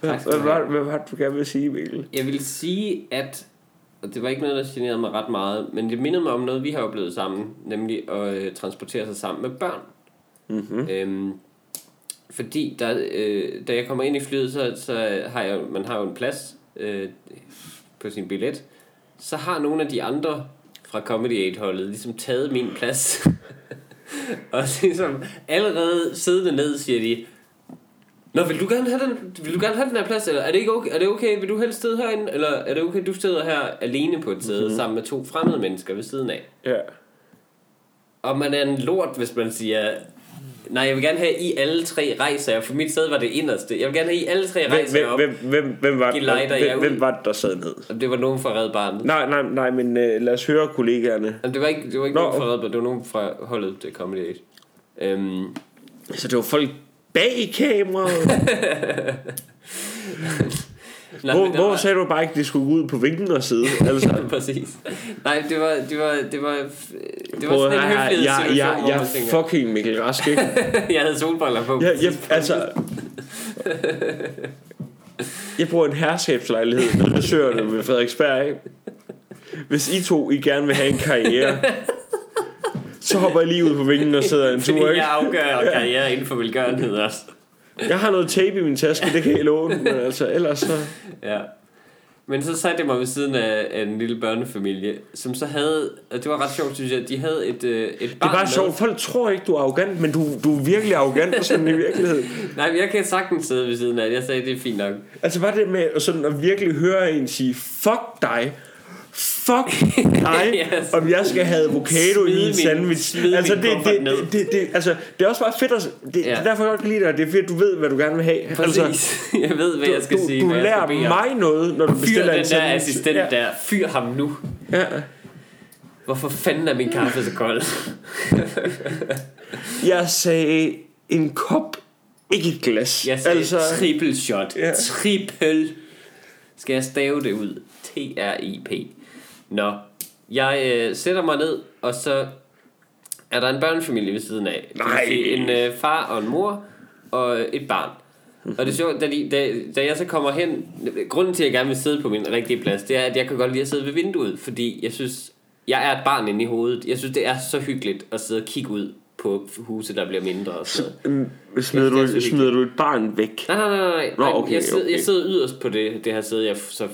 Speaker 2: Hvad,
Speaker 1: Tak skal du
Speaker 2: hvad, var, hvad var det, du gerne ville sige, Mikkel?
Speaker 1: Jeg vil sige, at og det var ikke noget, der generede mig ret meget, men det mindede mig om noget, vi har oplevet sammen, nemlig at øh, transportere sig sammen med børn.
Speaker 2: Mm-hmm.
Speaker 1: Øhm, fordi der, øh, da jeg kommer ind i flyet, så, så har jeg, man har jo en plads øh, på sin billet. Så har nogle af de andre fra Comedy 8-holdet ligesom taget min plads. og ligesom allerede siddende ned, siger de, Nå, vil du gerne have den, vil du gerne have den her plads, eller er det ikke okay, er det okay, vil du helst sidde herinde, eller er det okay, du sidder her alene på et sæde
Speaker 2: Mhm.
Speaker 1: mm-hmm. sammen med to fremmede mennesker ved siden af?
Speaker 2: Ja.
Speaker 1: Og man er en lort, hvis man siger, nej, jeg vil gerne have i alle tre rejser, og for mit sæde var det inderste. Jeg vil gerne have i alle tre
Speaker 2: Hvem,
Speaker 1: rejser
Speaker 2: hvem,
Speaker 1: op.
Speaker 2: hvem, hvem, hvem, var,
Speaker 1: Gelejder
Speaker 2: hvem,
Speaker 1: jer ud.
Speaker 2: hvem var det, der sad ned?
Speaker 1: Og det var nogen fra Red Barnet.
Speaker 2: Nej, nej, nej, men øh, lad os høre kollegaerne.
Speaker 1: Jamen, det var ikke, det var ikke
Speaker 2: Nå.
Speaker 1: nogen fra Red Barnet, det var nogen fra holdet til Comedy 8. Øhm,
Speaker 2: Så det var folk bag kameraet.
Speaker 1: nej,
Speaker 2: hvor,
Speaker 1: men der
Speaker 2: hvor
Speaker 1: var-
Speaker 2: sagde du bare ikke, de skulle ud på vinklen og sidde? Altså,
Speaker 1: Præcis. Nej, det var, det var, det var, det var
Speaker 2: prøv at
Speaker 1: sådan en
Speaker 2: høre her,
Speaker 1: høflighedssituation,
Speaker 2: jeg, jeg,
Speaker 1: hvor
Speaker 2: jeg
Speaker 1: man
Speaker 2: er
Speaker 1: tænker,
Speaker 2: fucking Mikkel Rask, ikke?
Speaker 1: jeg havde solbriller på.
Speaker 2: Jeg, jeg, altså, jeg bruger en herskabslejlighed, når jeg søger det med Frederiksberg, ikke? Hvis I to, I gerne vil have en karriere, så hopper jeg lige ud på vinklen og sidder en tur,
Speaker 1: Fordi
Speaker 2: ikke?
Speaker 1: jeg afgør karriere inden for velgørenhed også.
Speaker 2: Jeg har noget tape i min taske, det kan jeg låne, men altså ellers så...
Speaker 1: Ja. Men så satte jeg mig ved siden af, af en lille børnefamilie, som så havde, og det var ret sjovt, synes jeg, de havde et, øh, et
Speaker 2: Det
Speaker 1: barn
Speaker 2: er bare
Speaker 1: med.
Speaker 2: sjovt. Folk tror ikke, du er arrogant, men du, du er virkelig arrogant sådan i virkeligheden.
Speaker 1: Nej, men jeg kan sagtens sidde ved siden af, jeg sagde, det er fint nok.
Speaker 2: Altså bare det med at sådan at virkelig høre en sige, fuck dig, fuck dig,
Speaker 1: Yes.
Speaker 2: yes. om jeg skal have avocado
Speaker 1: Smid
Speaker 2: i
Speaker 1: min-
Speaker 2: en sandwich.
Speaker 1: smid
Speaker 2: altså,
Speaker 1: min
Speaker 2: det,
Speaker 1: kuffert
Speaker 2: det,
Speaker 1: ned.
Speaker 2: det, det, det, altså, det er også bare fedt, at, det,
Speaker 1: Ja.
Speaker 2: ja. det er derfor jeg godt kan lide dig, det er fedt, du ved, hvad du gerne vil have.
Speaker 1: Præcis,
Speaker 2: Altså,
Speaker 1: altså, jeg ved, hvad jeg skal
Speaker 2: du,
Speaker 1: sige.
Speaker 2: du
Speaker 1: hvad jeg
Speaker 2: lærer
Speaker 1: skal bede om.
Speaker 2: mig noget, når du
Speaker 1: Fyr
Speaker 2: bestiller
Speaker 1: den
Speaker 2: en
Speaker 1: der
Speaker 2: sandwich.
Speaker 1: assistent
Speaker 2: ja.
Speaker 1: der, fyr ham nu.
Speaker 2: Ja.
Speaker 1: Hvorfor fanden er min kaffe så kold?
Speaker 2: Jeg sagde en kop, ikke et glas.
Speaker 1: Jeg sagde altså, triple shot.
Speaker 2: Ja.
Speaker 1: Triple. Skal jeg stave det ud? T-R-I-P. Nå. Jeg øh, sætter mig ned, og så er der en børnefamilie ved siden af. Det vil
Speaker 2: Nej.
Speaker 1: sige En øh, far og en mor og øh, et barn. Og det er sjovt, da, de, da, da jeg så kommer hen, grunden til, at jeg gerne vil sidde på min rigtige plads, det er, at jeg kan godt lide at sidde ved vinduet, fordi jeg synes, jeg er et barn inde i hovedet. Jeg synes, det er så hyggeligt at sidde og kigge ud på huse, der bliver mindre og sådan noget.
Speaker 2: Mm, Smider
Speaker 1: Jeg synes, det er
Speaker 2: du,
Speaker 1: så
Speaker 2: smider du et barn væk?
Speaker 1: Nej, nej, nej, nej.
Speaker 2: Nå,
Speaker 1: nej
Speaker 2: okay,
Speaker 1: jeg, sidder,
Speaker 2: okay.
Speaker 1: jeg sidder yderst på det, det her sæde, jeg f- så øh,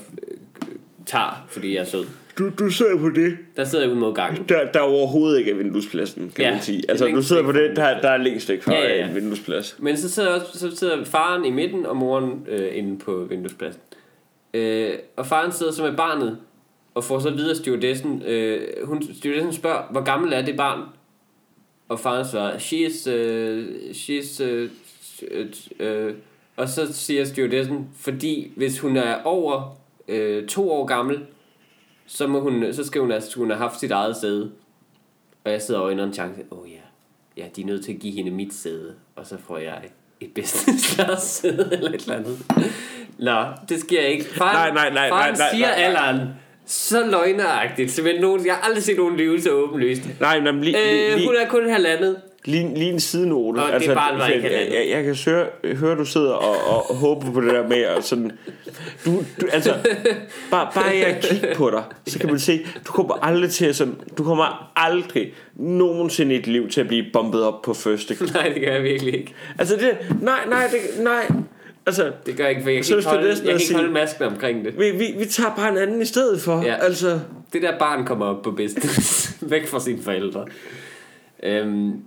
Speaker 1: tager, fordi jeg er sød.
Speaker 2: Du, du sidder på det,
Speaker 1: Der sidder jeg ude mod gangen.
Speaker 2: der, der overhovedet ikke er vinduespladsen, kan
Speaker 1: Ja,
Speaker 2: ja, man sige.
Speaker 1: det er
Speaker 2: Altså, du
Speaker 1: længst
Speaker 2: sidder
Speaker 1: væk
Speaker 2: på
Speaker 1: fra
Speaker 2: det, der, der er længst væk fra
Speaker 1: Ja,
Speaker 2: ja,
Speaker 1: ja,
Speaker 2: ja,
Speaker 1: ja.
Speaker 2: en vinduesplads.
Speaker 1: Men så sidder, også, så sidder faren i midten, og moren øh, inde på vinduespladsen. Øh, og faren sidder så med barnet, og får så videre stewardessen. Øh, hun, stewardessen spørger, hvor gammel er det barn? Og faren svarer, she is... Øh, she is øh, øh, og så siger stewardessen, fordi hvis hun er over øh, to år gammel, så, må hun, så skal hun, altså, hun have haft sit eget sæde. Og jeg sidder og øjner en chance. Åh oh, ja, ja, de er nødt til at give hende mit sæde, og så får jeg et business class sæde eller et eller andet. Nå, det sker ikke. Faren,
Speaker 2: Nej, nej, nej,
Speaker 1: faren
Speaker 2: nej, nej,
Speaker 1: siger
Speaker 2: nej, nej.
Speaker 1: alderen så løgneragtigt, som nogen, jeg har aldrig set nogen lyve så åbenlyst.
Speaker 2: Nej, men lige, lige,
Speaker 1: Øh,
Speaker 2: lige,
Speaker 1: hun er kun halvandet.
Speaker 2: lige, lige en sidenote.
Speaker 1: Nå, det er bare, hvad jeg kan
Speaker 2: jeg,
Speaker 1: lade.
Speaker 2: jeg, jeg kan høre, høre du sidder og, og håber på det der med, og sådan, du, du altså, bare, bare jeg kigger på dig, så kan man se, du kommer aldrig til at sådan, du kommer aldrig nogensinde i dit liv til at blive bombet op på første.
Speaker 1: Nej, det gør jeg virkelig ikke.
Speaker 2: Altså det, nej, nej, det, nej, altså,
Speaker 1: Det gør jeg ikke, for jeg
Speaker 2: Så
Speaker 1: kan ikke
Speaker 2: hvis
Speaker 1: holde, jeg
Speaker 2: det er det, sådan
Speaker 1: kan
Speaker 2: at
Speaker 1: ikke
Speaker 2: sige-
Speaker 1: holde masken omkring det.
Speaker 2: vi, vi, vi tager bare en anden i stedet for,
Speaker 1: Ja.
Speaker 2: ja. altså.
Speaker 1: Det der barn kommer op på business. Væk fra sine forældre. Øhm,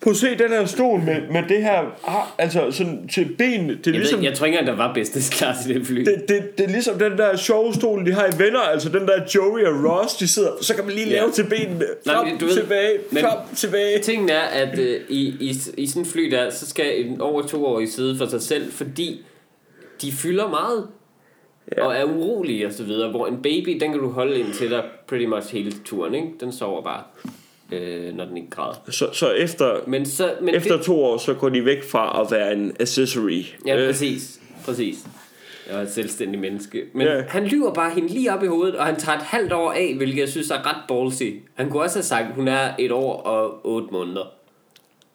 Speaker 2: Prøv at se den her stol med, med det her ar- Altså sådan til benene Det er
Speaker 1: jeg,
Speaker 2: ligesom
Speaker 1: ved, jeg tror ikke engang, der var business class i det fly.
Speaker 2: det, det, det er ligesom den der sjove stol De har i venner Altså den der Joey og Ross De sidder Så kan man lige
Speaker 1: Ja.
Speaker 2: lave til benene
Speaker 1: Nej,
Speaker 2: Frem,
Speaker 1: men du
Speaker 2: du
Speaker 1: ved-
Speaker 2: ved, tilbage
Speaker 1: men-
Speaker 2: men, Frem, tilbage
Speaker 1: Tingen er, at øh, i, i, i sådan et fly der, så skal en over to år i sidde for sig selv, fordi de fylder meget ja. og er urolige og så videre, hvor en baby, den kan du holde ind til dig pretty much hele turen, ikke? Den sover bare, øh, når den ikke græder.
Speaker 2: Så, så efter,
Speaker 1: Men så, men det-
Speaker 2: efter to år Så går de væk fra At være en accessory Øh,
Speaker 1: Ja, præcis. Præcis. Jeg er et selvstændigt menneske. Men
Speaker 2: Ja.
Speaker 1: han lyver bare hende lige op i hovedet, og han tager et halvt år af, hvilket jeg synes er ret ballsy. Han kunne også have sagt, at hun er et år og otte måneder.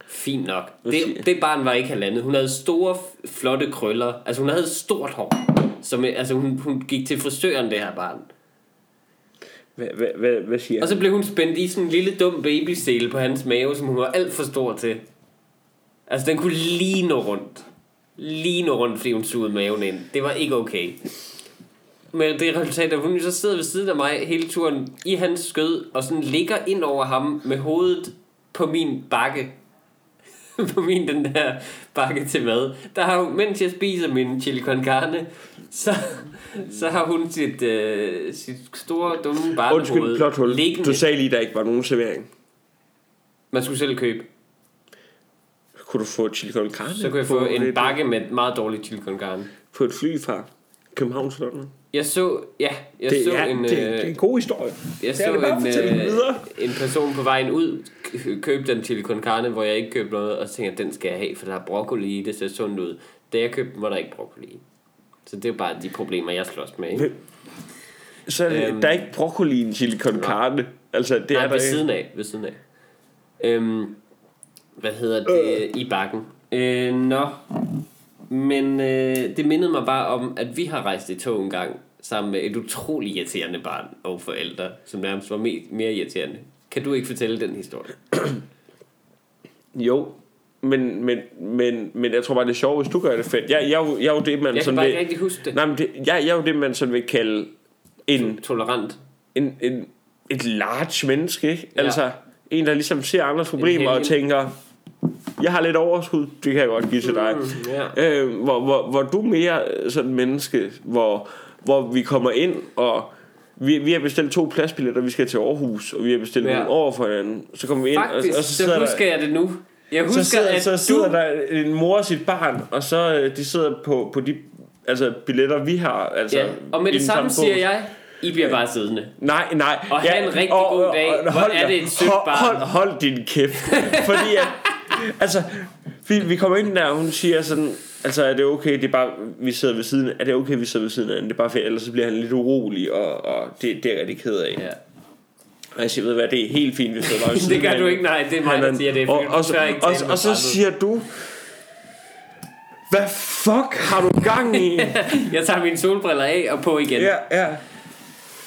Speaker 1: Fint nok. Det, det barn var ikke halvandet. Hun havde store, flotte krøller. Altså, hun havde et stort hår. Som, altså, hun, hun gik til frisøren, det her barn.
Speaker 2: Hvad, hvad, hvad, hvad siger
Speaker 1: Og
Speaker 2: han?
Speaker 1: så blev hun spændt i sådan en lille dum babysele på hans mave, som hun var alt for stor til. Altså, den kunne lige nå rundt. Lige nå rundt, fordi hun sugede maven ind. Det var ikke okay. Men det resultat er, at hun jo så sidder ved siden af mig hele turen i hans skød, og sådan ligger ind over ham med hovedet på min bakke. på min den der bakke til mad. Der har hun, mens jeg spiser min chili con carne, så, så har hun sit, øh, sit store, dumme
Speaker 2: Undskyld, plot
Speaker 1: barnehoved
Speaker 2: hul.
Speaker 1: liggende.
Speaker 2: Du sagde lige, der ikke var nogen servering.
Speaker 1: Man skulle selv købe.
Speaker 2: Kunne du få chili con carne?
Speaker 1: Så kunne jeg
Speaker 2: på
Speaker 1: få en
Speaker 2: et-
Speaker 1: bakke med meget dårlig chili con carne.
Speaker 2: På et fly fra København til London.
Speaker 1: Jeg så, ja, jeg
Speaker 2: Det,
Speaker 1: så
Speaker 2: er,
Speaker 1: en... øh,
Speaker 2: det, det er en god historie.
Speaker 1: Jeg
Speaker 2: Det er
Speaker 1: så
Speaker 2: det bare,
Speaker 1: en,
Speaker 2: fortæl
Speaker 1: øh,
Speaker 2: videre.
Speaker 1: en person på vejen ud kø- købte den til con carne, hvor jeg ikke købte noget, og så tænkte jeg, den skal jeg have, for der er broccoli i, det ser sundt ud. Da jeg købte den, var der ikke broccoli i. Så det er jo bare de problemer, jeg slås med. Ikke?
Speaker 2: Hvem- Så er det,
Speaker 1: Øhm,
Speaker 2: der er ikke broccoli i en chili con carne. Altså, det
Speaker 1: Nej,
Speaker 2: er der
Speaker 1: ved
Speaker 2: ikke.
Speaker 1: siden af. Ved siden af. Øhm, hvad hedder det? Øh. I bakken. Øh, nå. Men øh, det mindede mig bare om, at vi har rejst i tog en gang sammen med et utrolig irriterende barn og forældre, som nærmest var me- mere irriterende. Kan du ikke fortælle den historie?
Speaker 2: Jo, men, men, men, men jeg tror bare, det er sjovt, hvis du gør det fedt. Jeg, jeg, er jo- jeg er jo det, man
Speaker 1: Jeg kan
Speaker 2: sådan
Speaker 1: bare
Speaker 2: vil...
Speaker 1: ikke rigtig huske det.
Speaker 2: Nej, men det, jeg, jeg er jo det, man sådan vil kalde en,
Speaker 1: Tolerant.
Speaker 2: en, en, et large menneske, ikke?
Speaker 1: Ja.
Speaker 2: Altså, en, der ligesom ser andres problemer og
Speaker 1: helgen.
Speaker 2: tænker, jeg har lidt overskud, det kan jeg godt give til dig.
Speaker 1: Mm, ja.
Speaker 2: Øh, hvor, hvor, hvor du er mere øh, sådan menneske, hvor, hvor vi kommer ind og vi, vi har bestilt to pladsbilletter, vi skal til Aarhus, og vi har bestilt
Speaker 1: Ja.
Speaker 2: ja. nogle over for hinanden. Så kommer vi ind,
Speaker 1: Faktisk,
Speaker 2: og, og så
Speaker 1: så,
Speaker 2: sidder
Speaker 1: husker
Speaker 2: der,
Speaker 1: jeg det nu. Jeg husker,
Speaker 2: så sidder,
Speaker 1: at
Speaker 2: så sidder
Speaker 1: du...
Speaker 2: der en mor og sit barn, og så øh, de sidder på, på de altså, billetter, vi har. Altså,
Speaker 1: ja. Og med
Speaker 2: i
Speaker 1: det
Speaker 2: den
Speaker 1: samme
Speaker 2: båd.
Speaker 1: siger jeg, I bliver bare siddende.
Speaker 2: Nej, nej.
Speaker 1: Og have en rigtig god dag. Hvor er
Speaker 2: da-
Speaker 1: det et sødt
Speaker 2: hold,
Speaker 1: barn.
Speaker 2: Hold, hold din kæft. Fordi at, altså, vi, vi kommer ind der, og hun siger sådan, altså er det okay, det er bare, vi sidder ved siden, er det okay, vi sidder ved siden af hende? Det er bare fedt, ellers så bliver han lidt urolig, og, og det, det er jeg rigtig ked af.
Speaker 1: Ja.
Speaker 2: Og jeg siger, ved du hvad, det er helt fint, vi sidder bare ved
Speaker 1: Det
Speaker 2: siden
Speaker 1: gør
Speaker 2: af
Speaker 1: du
Speaker 2: hende."
Speaker 1: ikke, nej, det er mig, der
Speaker 2: Allan.
Speaker 1: siger det.
Speaker 2: Og,
Speaker 1: fordi du
Speaker 2: og, så-
Speaker 1: tør ikke
Speaker 2: og,
Speaker 1: tale
Speaker 2: og,
Speaker 1: med
Speaker 2: og så
Speaker 1: fremmede.
Speaker 2: siger du, hvad fuck har du gang i?
Speaker 1: Jeg tager mine solbriller af og på igen, ja.
Speaker 2: ja, ja.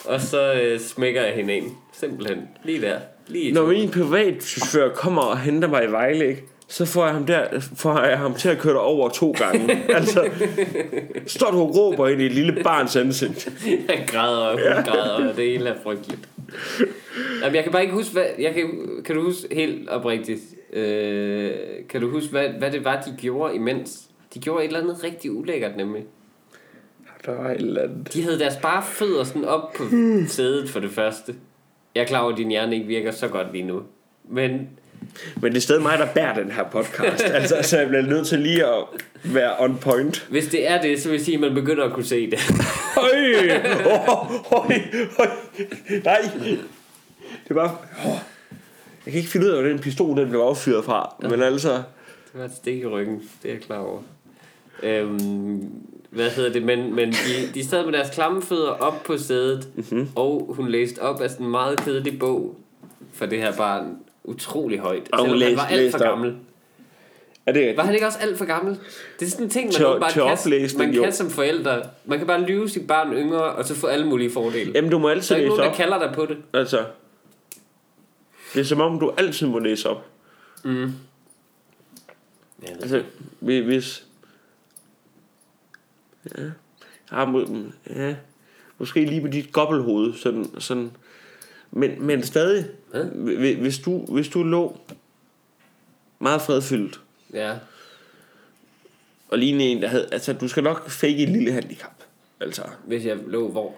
Speaker 1: og så øh, smækker jeg hende ind. Simpelthen. Lige der. Lige i
Speaker 2: Når min privatchauffør kommer og henter mig i Vejle, ikke? så får jeg, ham der, får jeg ham til at køre dig over to gange. altså, står du og råber ind i et lille barns ansigt.
Speaker 1: Han græder, og hun ja. græder, og det hele er frygteligt. Jamen, jeg kan bare ikke huske, hvad, jeg kan, kan du huske helt oprigtigt, øh, kan du huske, hvad, hvad det var, de gjorde imens? De gjorde et eller andet rigtig ulækkert, nemlig.
Speaker 2: Der var et eller andet.
Speaker 1: De havde deres bare fødder sådan op på sædet for det første. Jeg er klar over, at din hjerne ikke virker så godt lige nu. Men
Speaker 2: Men det er stadig mig, der bærer den her podcast. altså, så jeg bliver nødt til lige at være on point.
Speaker 1: hvis det er det, så vil jeg sige, at man begynder at kunne se det.
Speaker 2: Høj! Oh, høj, høj. Nej. Det var... Oh. Jeg kan ikke finde ud af, hvor den pistol den blev affyret fra. Men altså...
Speaker 1: Det var et stik i ryggen, det er jeg klar over. Øhm, hvad hedder det? Men, men de, de sad med deres klamme fødder op på sædet,
Speaker 2: Mhm.
Speaker 1: mm-hmm. og hun læste op af sådan en meget kedelig bog for det her barn. Utrolig højt.
Speaker 2: Og hun
Speaker 1: Selvom han
Speaker 2: læste-
Speaker 1: var alt for
Speaker 2: læste op.
Speaker 1: gammel.
Speaker 2: Er det
Speaker 1: Var han ikke også alt for gammel? Det er sådan en ting, man,
Speaker 2: Til-
Speaker 1: åbenbart
Speaker 2: til
Speaker 1: kan,
Speaker 2: oplæsning,
Speaker 1: man
Speaker 2: jo.
Speaker 1: kan som forældre. Man kan bare lyve sit barn yngre, og så få alle mulige fordele.
Speaker 2: Jamen, du må
Speaker 1: der
Speaker 2: altid
Speaker 1: er ikke
Speaker 2: læse
Speaker 1: nogen,
Speaker 2: op.
Speaker 1: der kalder dig på det.
Speaker 2: Altså, det er som om, du altid må læse op.
Speaker 1: Jeg ved
Speaker 2: Altså, hvi- hvis... Ja, ja, må, ja måske lige på dit gobbelhoved, sådan, sådan. Men, men stadig,
Speaker 1: Hvad?
Speaker 2: hvi- hvi- hvis du, hvis du lå meget fredfyldt,
Speaker 1: Ja.
Speaker 2: og lignede en, der havde... Altså, du skal nok fake et lille handicap. Altså,
Speaker 1: Hvis jeg lå hvor?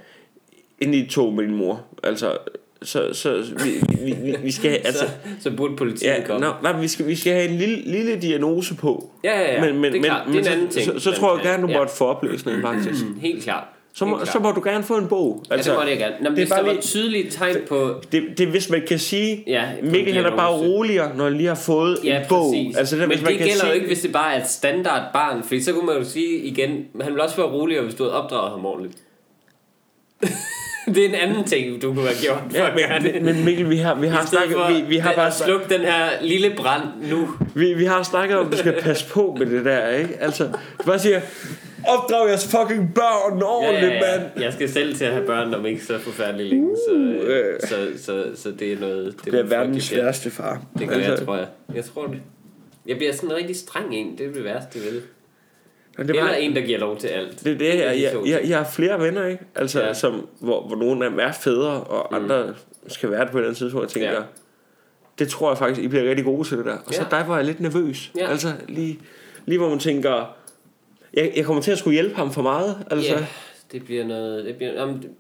Speaker 2: ind i et tog med din mor. Altså, så, så vi, vi, vi, vi skal... Altså,
Speaker 1: Så, så burde politiet
Speaker 2: Ja,
Speaker 1: komme.
Speaker 2: nå, nej, men vi, skal, vi skal have en lille, lille diagnose på.
Speaker 1: Ja, ja, ja.
Speaker 2: Men, men,
Speaker 1: Det er
Speaker 2: men,
Speaker 1: klart. Det er
Speaker 2: men
Speaker 1: en
Speaker 2: så,
Speaker 1: anden ting.
Speaker 2: Så, så
Speaker 1: Men,
Speaker 2: tror jeg
Speaker 1: ja,
Speaker 2: gerne, du
Speaker 1: ja.
Speaker 2: måtte få opløsning, faktisk.
Speaker 1: Mm, Helt klart.
Speaker 2: Så må,
Speaker 1: Helt klart.
Speaker 2: så må du gerne få en bog.
Speaker 1: Altså, ja, det måtte jeg gerne. Nå, men
Speaker 2: det, er
Speaker 1: hvis der
Speaker 2: bare
Speaker 1: var
Speaker 2: lige,
Speaker 1: tydelige tegn på...
Speaker 2: det, det er, hvis man kan sige,
Speaker 1: Ja, på en
Speaker 2: Mikkel han er bare
Speaker 1: diagnose.
Speaker 2: roligere, når han lige har fået
Speaker 1: Ja,
Speaker 2: en bog.
Speaker 1: præcis.
Speaker 2: Altså, det, er,
Speaker 1: men
Speaker 2: hvis man
Speaker 1: det
Speaker 2: kan
Speaker 1: gælder
Speaker 2: sige,
Speaker 1: jo ikke, hvis det bare er et standard barn, for så kunne man jo sige igen, han ville også være roligere, hvis du havde opdraget ham ordentligt. det er en anden ting, du kunne have gjort. for at gøre
Speaker 2: Ja,
Speaker 1: det.
Speaker 2: men, men Mikkel, vi har, vi
Speaker 1: I
Speaker 2: har
Speaker 1: stedet
Speaker 2: snakket,
Speaker 1: for
Speaker 2: vi, vi, har
Speaker 1: at-
Speaker 2: bare,
Speaker 1: at slukke den her lille brand nu.
Speaker 2: vi, vi har snakket om, at du skal passe på med det der, ikke? Altså, du bare siger, opdrag jeres fucking børn ordentligt, mand.
Speaker 1: Jeg skal selv til at have børn om ikke så forfærdeligt længe, så, øh,
Speaker 2: øh.
Speaker 1: så, så, så det er noget... Det,
Speaker 2: Det er
Speaker 1: noget
Speaker 2: verdens
Speaker 1: frygteligt.
Speaker 2: værste far. Altså,
Speaker 1: Det gør jeg, tror jeg. Jeg tror det. Jeg bliver sådan en rigtig streng en, det er det værste, vel?
Speaker 2: det
Speaker 1: Eller en, der giver lov til alt.
Speaker 2: Det er det, jeg,
Speaker 1: de to
Speaker 2: jeg,
Speaker 1: ting.
Speaker 2: jeg, jeg har flere venner, ikke? Altså,
Speaker 1: Ja. Mm.
Speaker 2: ja. som, hvor, hvor nogle af dem er fædre, og andre skal være det på et eller andet tidspunkt, og tænker,
Speaker 1: Ja.
Speaker 2: ja. det tror jeg faktisk, I bliver rigtig gode til det der. Og så
Speaker 1: Ja.
Speaker 2: dig var jeg lidt nervøs.
Speaker 1: Ja.
Speaker 2: Ja. Altså, lige, lige hvor man tænker, jeg, jeg kommer til at skulle hjælpe ham for meget, altså.
Speaker 1: Ja, det bliver noget... Det bliver, jamen, det-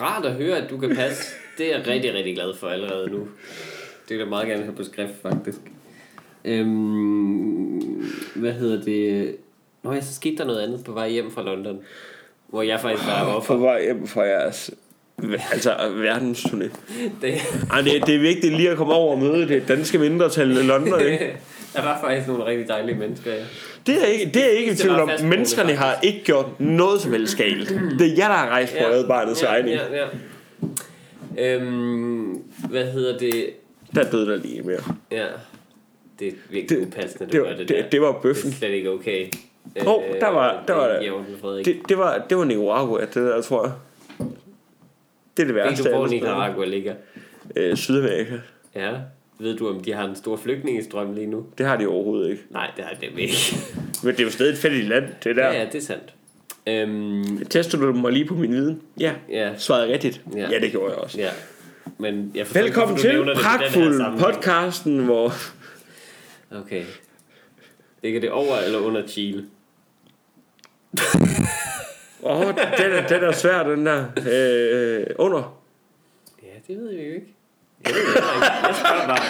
Speaker 1: rart at høre, at du kan passe. Det er jeg rigtig, rigtig glad for allerede nu. Det vil jeg meget gerne have på skrift, faktisk. Øhm, hvad hedder det? Nå ja, så skete der noget andet på vej hjem fra London. Hvor jeg faktisk var
Speaker 2: Og
Speaker 1: offer.
Speaker 2: på vej hjem fra jeres altså verdensturné.
Speaker 1: Det,
Speaker 2: Ej, det, det er vigtigt lige at komme over og møde det danske mindretal i London, ikke?
Speaker 1: der var faktisk nogle rigtig dejlige mennesker. Ja.
Speaker 2: Det er ikke, det er ikke i
Speaker 1: Det
Speaker 2: tvivl
Speaker 1: var
Speaker 2: om.
Speaker 1: fastboende,
Speaker 2: Menneskerne har ikke gjort noget som helst galt. Det er jer, der har rejst på adbarnets
Speaker 1: ja,
Speaker 2: regning.
Speaker 1: Ja, ja. Øhm, hvad hedder det?
Speaker 2: Der døde der lige mere.
Speaker 1: Ja, det er virkelig
Speaker 2: Det-
Speaker 1: upassende, du
Speaker 2: det,
Speaker 1: gør
Speaker 2: var,
Speaker 1: det,
Speaker 2: det,
Speaker 1: der.
Speaker 2: det, var bøffen.
Speaker 1: Det er slet ikke okay. Øh,
Speaker 2: Hov, der var- der var
Speaker 1: det.
Speaker 2: det.
Speaker 1: Giver ordentligt, Frederik. Det,
Speaker 2: Det, det, var, det var Nicaragua, det der, tror jeg. Det er det
Speaker 1: Ved
Speaker 2: værste.
Speaker 1: du, hvor
Speaker 2: af alle steder.
Speaker 1: Nicaragua ligger?
Speaker 2: Øh, Sydamerika.
Speaker 1: Ja. Ved du, om de har en stor flygtningestrøm lige nu?
Speaker 2: Det har de overhovedet ikke.
Speaker 1: Nej, det har de nemlig ikke.
Speaker 2: Men det er jo stadig et fattigt land, det
Speaker 1: Ja,
Speaker 2: der.
Speaker 1: ja, det er sandt. Øhm,
Speaker 2: Tester du mig lige på min viden? Ja.
Speaker 1: ja,
Speaker 2: Svarede jeg rigtigt?
Speaker 1: Ja.
Speaker 2: ja, det gjorde jeg også.
Speaker 1: ja. Men jeg forstår, ikke,
Speaker 2: Velkommen
Speaker 1: hvorfor du
Speaker 2: til
Speaker 1: nævner det i den her
Speaker 2: Pragtfuld
Speaker 1: sammenhæng.
Speaker 2: podcasten, hvor...
Speaker 1: Okay. Ligger det over eller under Chile?
Speaker 2: Åh, oh, den, er, den er svær, den der. Øh, under.
Speaker 1: Ja, det ved vi jo ikke. Jeg ved det heller ikke. Jeg spørger bare.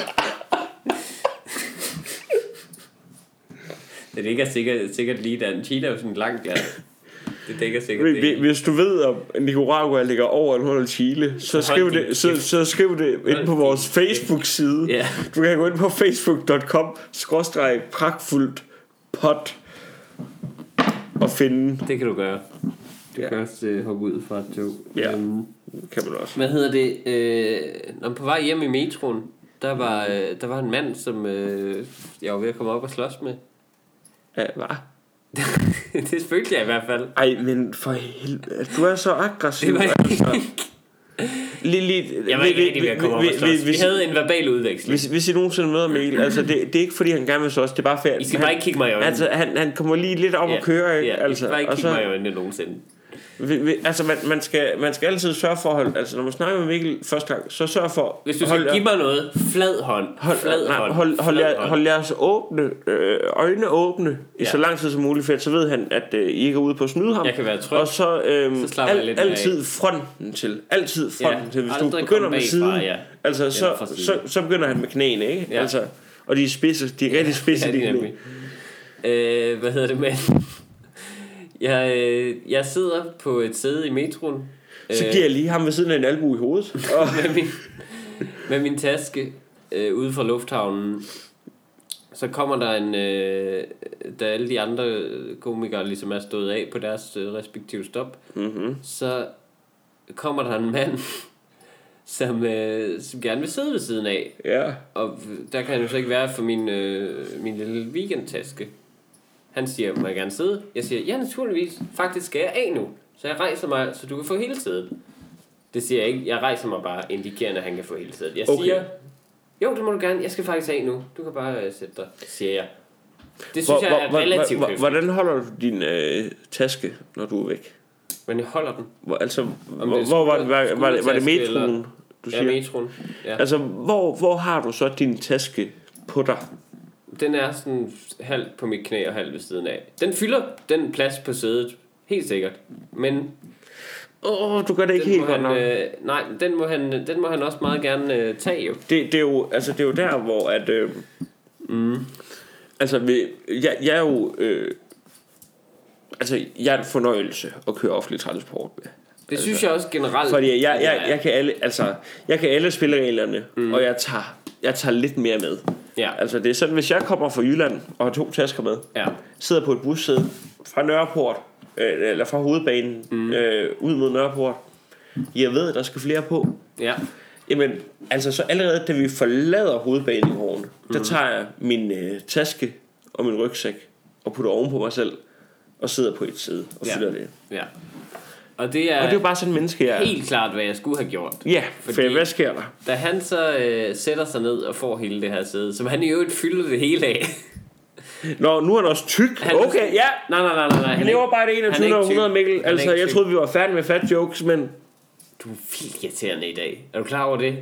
Speaker 1: Det ligger sikkert, sikkert lige der. Chile er jo sådan langt, ja. Det dækker sikkert
Speaker 2: Hvis-
Speaker 1: det.
Speaker 2: Hvis du ved, om Nicaragua ligger over eller under Chile, så skriv
Speaker 1: din
Speaker 2: det, så, så skriv det ind på
Speaker 1: din
Speaker 2: vores Facebook-side.
Speaker 1: Ja.
Speaker 2: Du kan gå ind på facebook.com skråstreg pragtfuldt pot og finde
Speaker 1: Det kan du gøre. Du
Speaker 2: Ja.
Speaker 1: kan også øh, hoppe ud fra et tog.
Speaker 2: Ja.
Speaker 1: Øhm,
Speaker 2: kan man også.
Speaker 1: hvad hedder det? Øh, når man på vej hjem i metroen, der var, øh, der var en mand, som øh, jeg var ved at komme op og slås med.
Speaker 2: Ja, hva?
Speaker 1: det følte jeg i hvert fald.
Speaker 2: Ej, men for helvede. Du er så aggressiv.
Speaker 1: Det var
Speaker 2: altså. Lige, lige,
Speaker 1: Jeg var ikke rigtig ved at komme op og slås. Vi
Speaker 2: hvis,
Speaker 1: havde en verbal udveksling.
Speaker 2: hvis, hvis I nogensinde møder Mikkel, altså det, det er ikke fordi, han gerne vil slås, det er bare færdigt.
Speaker 1: I skal bare ikke kigge mig i øjnene.
Speaker 2: Altså, han, han kommer lige lidt om at køre, ikke?
Speaker 1: Ja, altså,
Speaker 2: altså,
Speaker 1: I skal bare ikke
Speaker 2: og
Speaker 1: kigge mig i
Speaker 2: så,
Speaker 1: øjnene nogensinde.
Speaker 2: vi, vi, altså man, man, skal, man skal altid sørge for at holde, altså når man snakker med Mikkel første gang, så sørg for...
Speaker 1: Hvis du skal
Speaker 2: hold,
Speaker 1: give mig noget, flad hånd.
Speaker 2: Hold,
Speaker 1: flad
Speaker 2: nej,
Speaker 1: hånd.
Speaker 2: hold, hold,
Speaker 1: flad
Speaker 2: jer, hold jeres åbne, øh, øjne åbne i
Speaker 1: Ja.
Speaker 2: så lang tid som muligt, for ellers så ved han, at øh, I ikke er ude på at snyde ham.
Speaker 1: Jeg kan være tryg.
Speaker 2: Og så, øh,
Speaker 1: Så
Speaker 2: så
Speaker 1: slapper jeg
Speaker 2: al,
Speaker 1: lidt mere
Speaker 2: altid fronten til. Altid fronten
Speaker 1: Ja,
Speaker 2: til. Hvis du
Speaker 1: aldrig komme
Speaker 2: begynder med
Speaker 1: bagfra,
Speaker 2: siden,
Speaker 1: ja.
Speaker 2: altså, så,
Speaker 1: fra siden.
Speaker 2: så, så begynder han med knæene, ikke?
Speaker 1: Ja.
Speaker 2: Altså, og de er spidse, de er rigtig spidse,
Speaker 1: Ja, det er
Speaker 2: de knæ.
Speaker 1: nemlig. Øh, hvad hedder det, mand? Jeg, øh, jeg sidder på et sæde i metroen.
Speaker 2: Så
Speaker 1: øh,
Speaker 2: giver jeg lige ham ved siden af en albu i hovedet. Og,
Speaker 1: med, min, med min taske øh, ude fra lufthavnen. Så kommer der en, øh, da alle de andre øh, komikere ligesom er stået af på deres øh, respektive stop,
Speaker 2: mm-hmm.
Speaker 1: så kommer der en mand, som, øh, som gerne vil sidde ved siden af.
Speaker 2: Ja.
Speaker 1: Og der kan han jo så ikke være for min, øh, min lille weekendtaske. Han siger, må jeg gerne sidde? Jeg siger, ja naturligvis. Faktisk skal jeg af nu. Så jeg rejser mig, så du kan få hele sædet. Det siger jeg ikke. Jeg rejser mig bare indikerende, at han kan få hele sædet. Jeg
Speaker 2: Okay.
Speaker 1: siger, jo det må du gerne. Jeg skal faktisk af nu. Du kan bare øh, sætte dig, siger jeg. Det synes
Speaker 2: Hvor,
Speaker 1: hvor, jeg er
Speaker 2: hvor, hvor,
Speaker 1: relativt
Speaker 2: hvor,
Speaker 1: høfligt.
Speaker 2: hvordan holder du din øh, taske, når du er væk?
Speaker 1: Men jeg holder den.
Speaker 2: Hvor, altså, hvor,
Speaker 1: er
Speaker 2: hvor var,
Speaker 1: skulder-
Speaker 2: var, var, var det
Speaker 1: skuldertaske
Speaker 2: metroen,
Speaker 1: eller-
Speaker 2: du
Speaker 1: Ja,
Speaker 2: siger?
Speaker 1: metroen. Ja.
Speaker 2: Altså, hvor, hvor har du så din taske på dig?
Speaker 1: Den er sådan halvt på mit knæ og halvt ved siden af. Den fylder den plads på sædet. Helt sikkert. Men
Speaker 2: Åh, oh, du gør det ikke
Speaker 1: den
Speaker 2: helt
Speaker 1: må
Speaker 2: godt
Speaker 1: han,
Speaker 2: nok.
Speaker 1: øh, nej, den må, han, den må han også meget gerne øh, tage jo.
Speaker 2: Det, det, er jo, altså, det er jo der, hvor at... Øh, mm. Altså, vi, jeg, jeg er jo... Øh, altså, jeg er en fornøjelse at køre offentlig transport med.
Speaker 1: Det synes jeg også generelt.
Speaker 2: Altså, Fordi jeg,
Speaker 1: at
Speaker 2: jeg,
Speaker 1: er.
Speaker 2: jeg, kan alle, altså, jeg kan alle spillereglerne, mm. og jeg tager, jeg tager lidt mere med.
Speaker 1: Ja,
Speaker 2: Altså, det er sådan, hvis jeg kommer fra Jylland og har to tasker med,
Speaker 1: ja.
Speaker 2: sidder på et bussæde fra Nørreport, øh, eller fra hovedbanen, mm. øh, ud mod Nørreport. Jeg ved, at der skal flere på.
Speaker 1: Ja,
Speaker 2: Jamen, altså så allerede da vi forlader hovedbanen i morgen, mm. der tager jeg min øh, taske og min rygsæk og putter oven på mig selv og sidder på et side og
Speaker 1: Ja.
Speaker 2: fylder det.
Speaker 1: ja. Og det er,
Speaker 2: Og det er jo bare sådan en menneske, jeg er.
Speaker 1: helt klart, hvad jeg skulle have gjort.
Speaker 2: Ja, for
Speaker 1: Fordi-
Speaker 2: Fordi... hvad sker der?
Speaker 1: Da han så øh, sætter sig ned og får hele det her sæde, som han i øvrigt fylder det hele af.
Speaker 2: Nå, nu er han også tyk.
Speaker 1: Han-
Speaker 2: Okay, ja.
Speaker 1: nej, nej, nej, nej. nej.
Speaker 2: Vi
Speaker 1: Han
Speaker 2: lever
Speaker 1: er,
Speaker 2: bare i det
Speaker 1: er
Speaker 2: 21.
Speaker 1: ikke tyk.
Speaker 2: århundrede,
Speaker 1: Han
Speaker 2: Mikkel.
Speaker 1: er
Speaker 2: Altså,
Speaker 1: ikke
Speaker 2: jeg
Speaker 1: tyk.
Speaker 2: troede, vi var færdige med fat jokes, men...
Speaker 1: du er vildt irriterende i dag. Er du klar over det?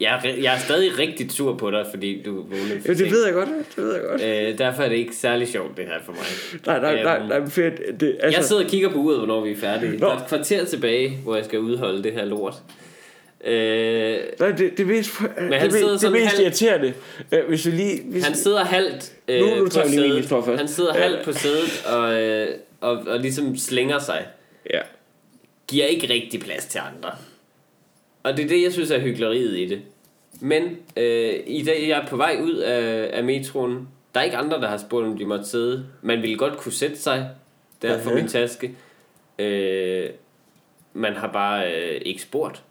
Speaker 1: Jeg er, ri- jeg er stadig rigtig sur på dig, fordi du vågnede for
Speaker 2: Ja, det
Speaker 1: sent.
Speaker 2: ved jeg godt. Det ved jeg godt.
Speaker 1: Øh, derfor er det ikke særlig sjovt, det her for mig.
Speaker 2: Nej, nej, nej,
Speaker 1: Øhm,
Speaker 2: nej, men fedt. Det, altså,
Speaker 1: Jeg sidder og kigger på uret, hvornår vi er færdige.
Speaker 2: Nå.
Speaker 1: Der er et kvarter tilbage, hvor jeg skal udholde det her lort. Øh,
Speaker 2: Nej, det, det mest, Men
Speaker 1: han
Speaker 2: det,
Speaker 1: sidder
Speaker 2: mest, det
Speaker 1: sådan
Speaker 2: mest
Speaker 1: halv-
Speaker 2: irriterende, øh, hvis vi lige... Hvis
Speaker 1: han sidder halvt øh,
Speaker 2: Nu- nu
Speaker 1: på
Speaker 2: tager jeg lige min
Speaker 1: sædet.
Speaker 2: historie først.
Speaker 1: Han sidder
Speaker 2: Ja.
Speaker 1: halvt på sædet og, øh, og, og ligesom slænger sig.
Speaker 2: Ja.
Speaker 1: Giver ikke rigtig plads til andre. Og det er det, jeg synes er hyggeleriet i det. Men øh, i dag jeg er på vej ud af, af metroen. Der er ikke andre, der har spurgt, om de måtte sidde. Man ville godt kunne sætte sig der for
Speaker 2: Aha.
Speaker 1: min taske. Øh, man har bare øh, ikke spurgt.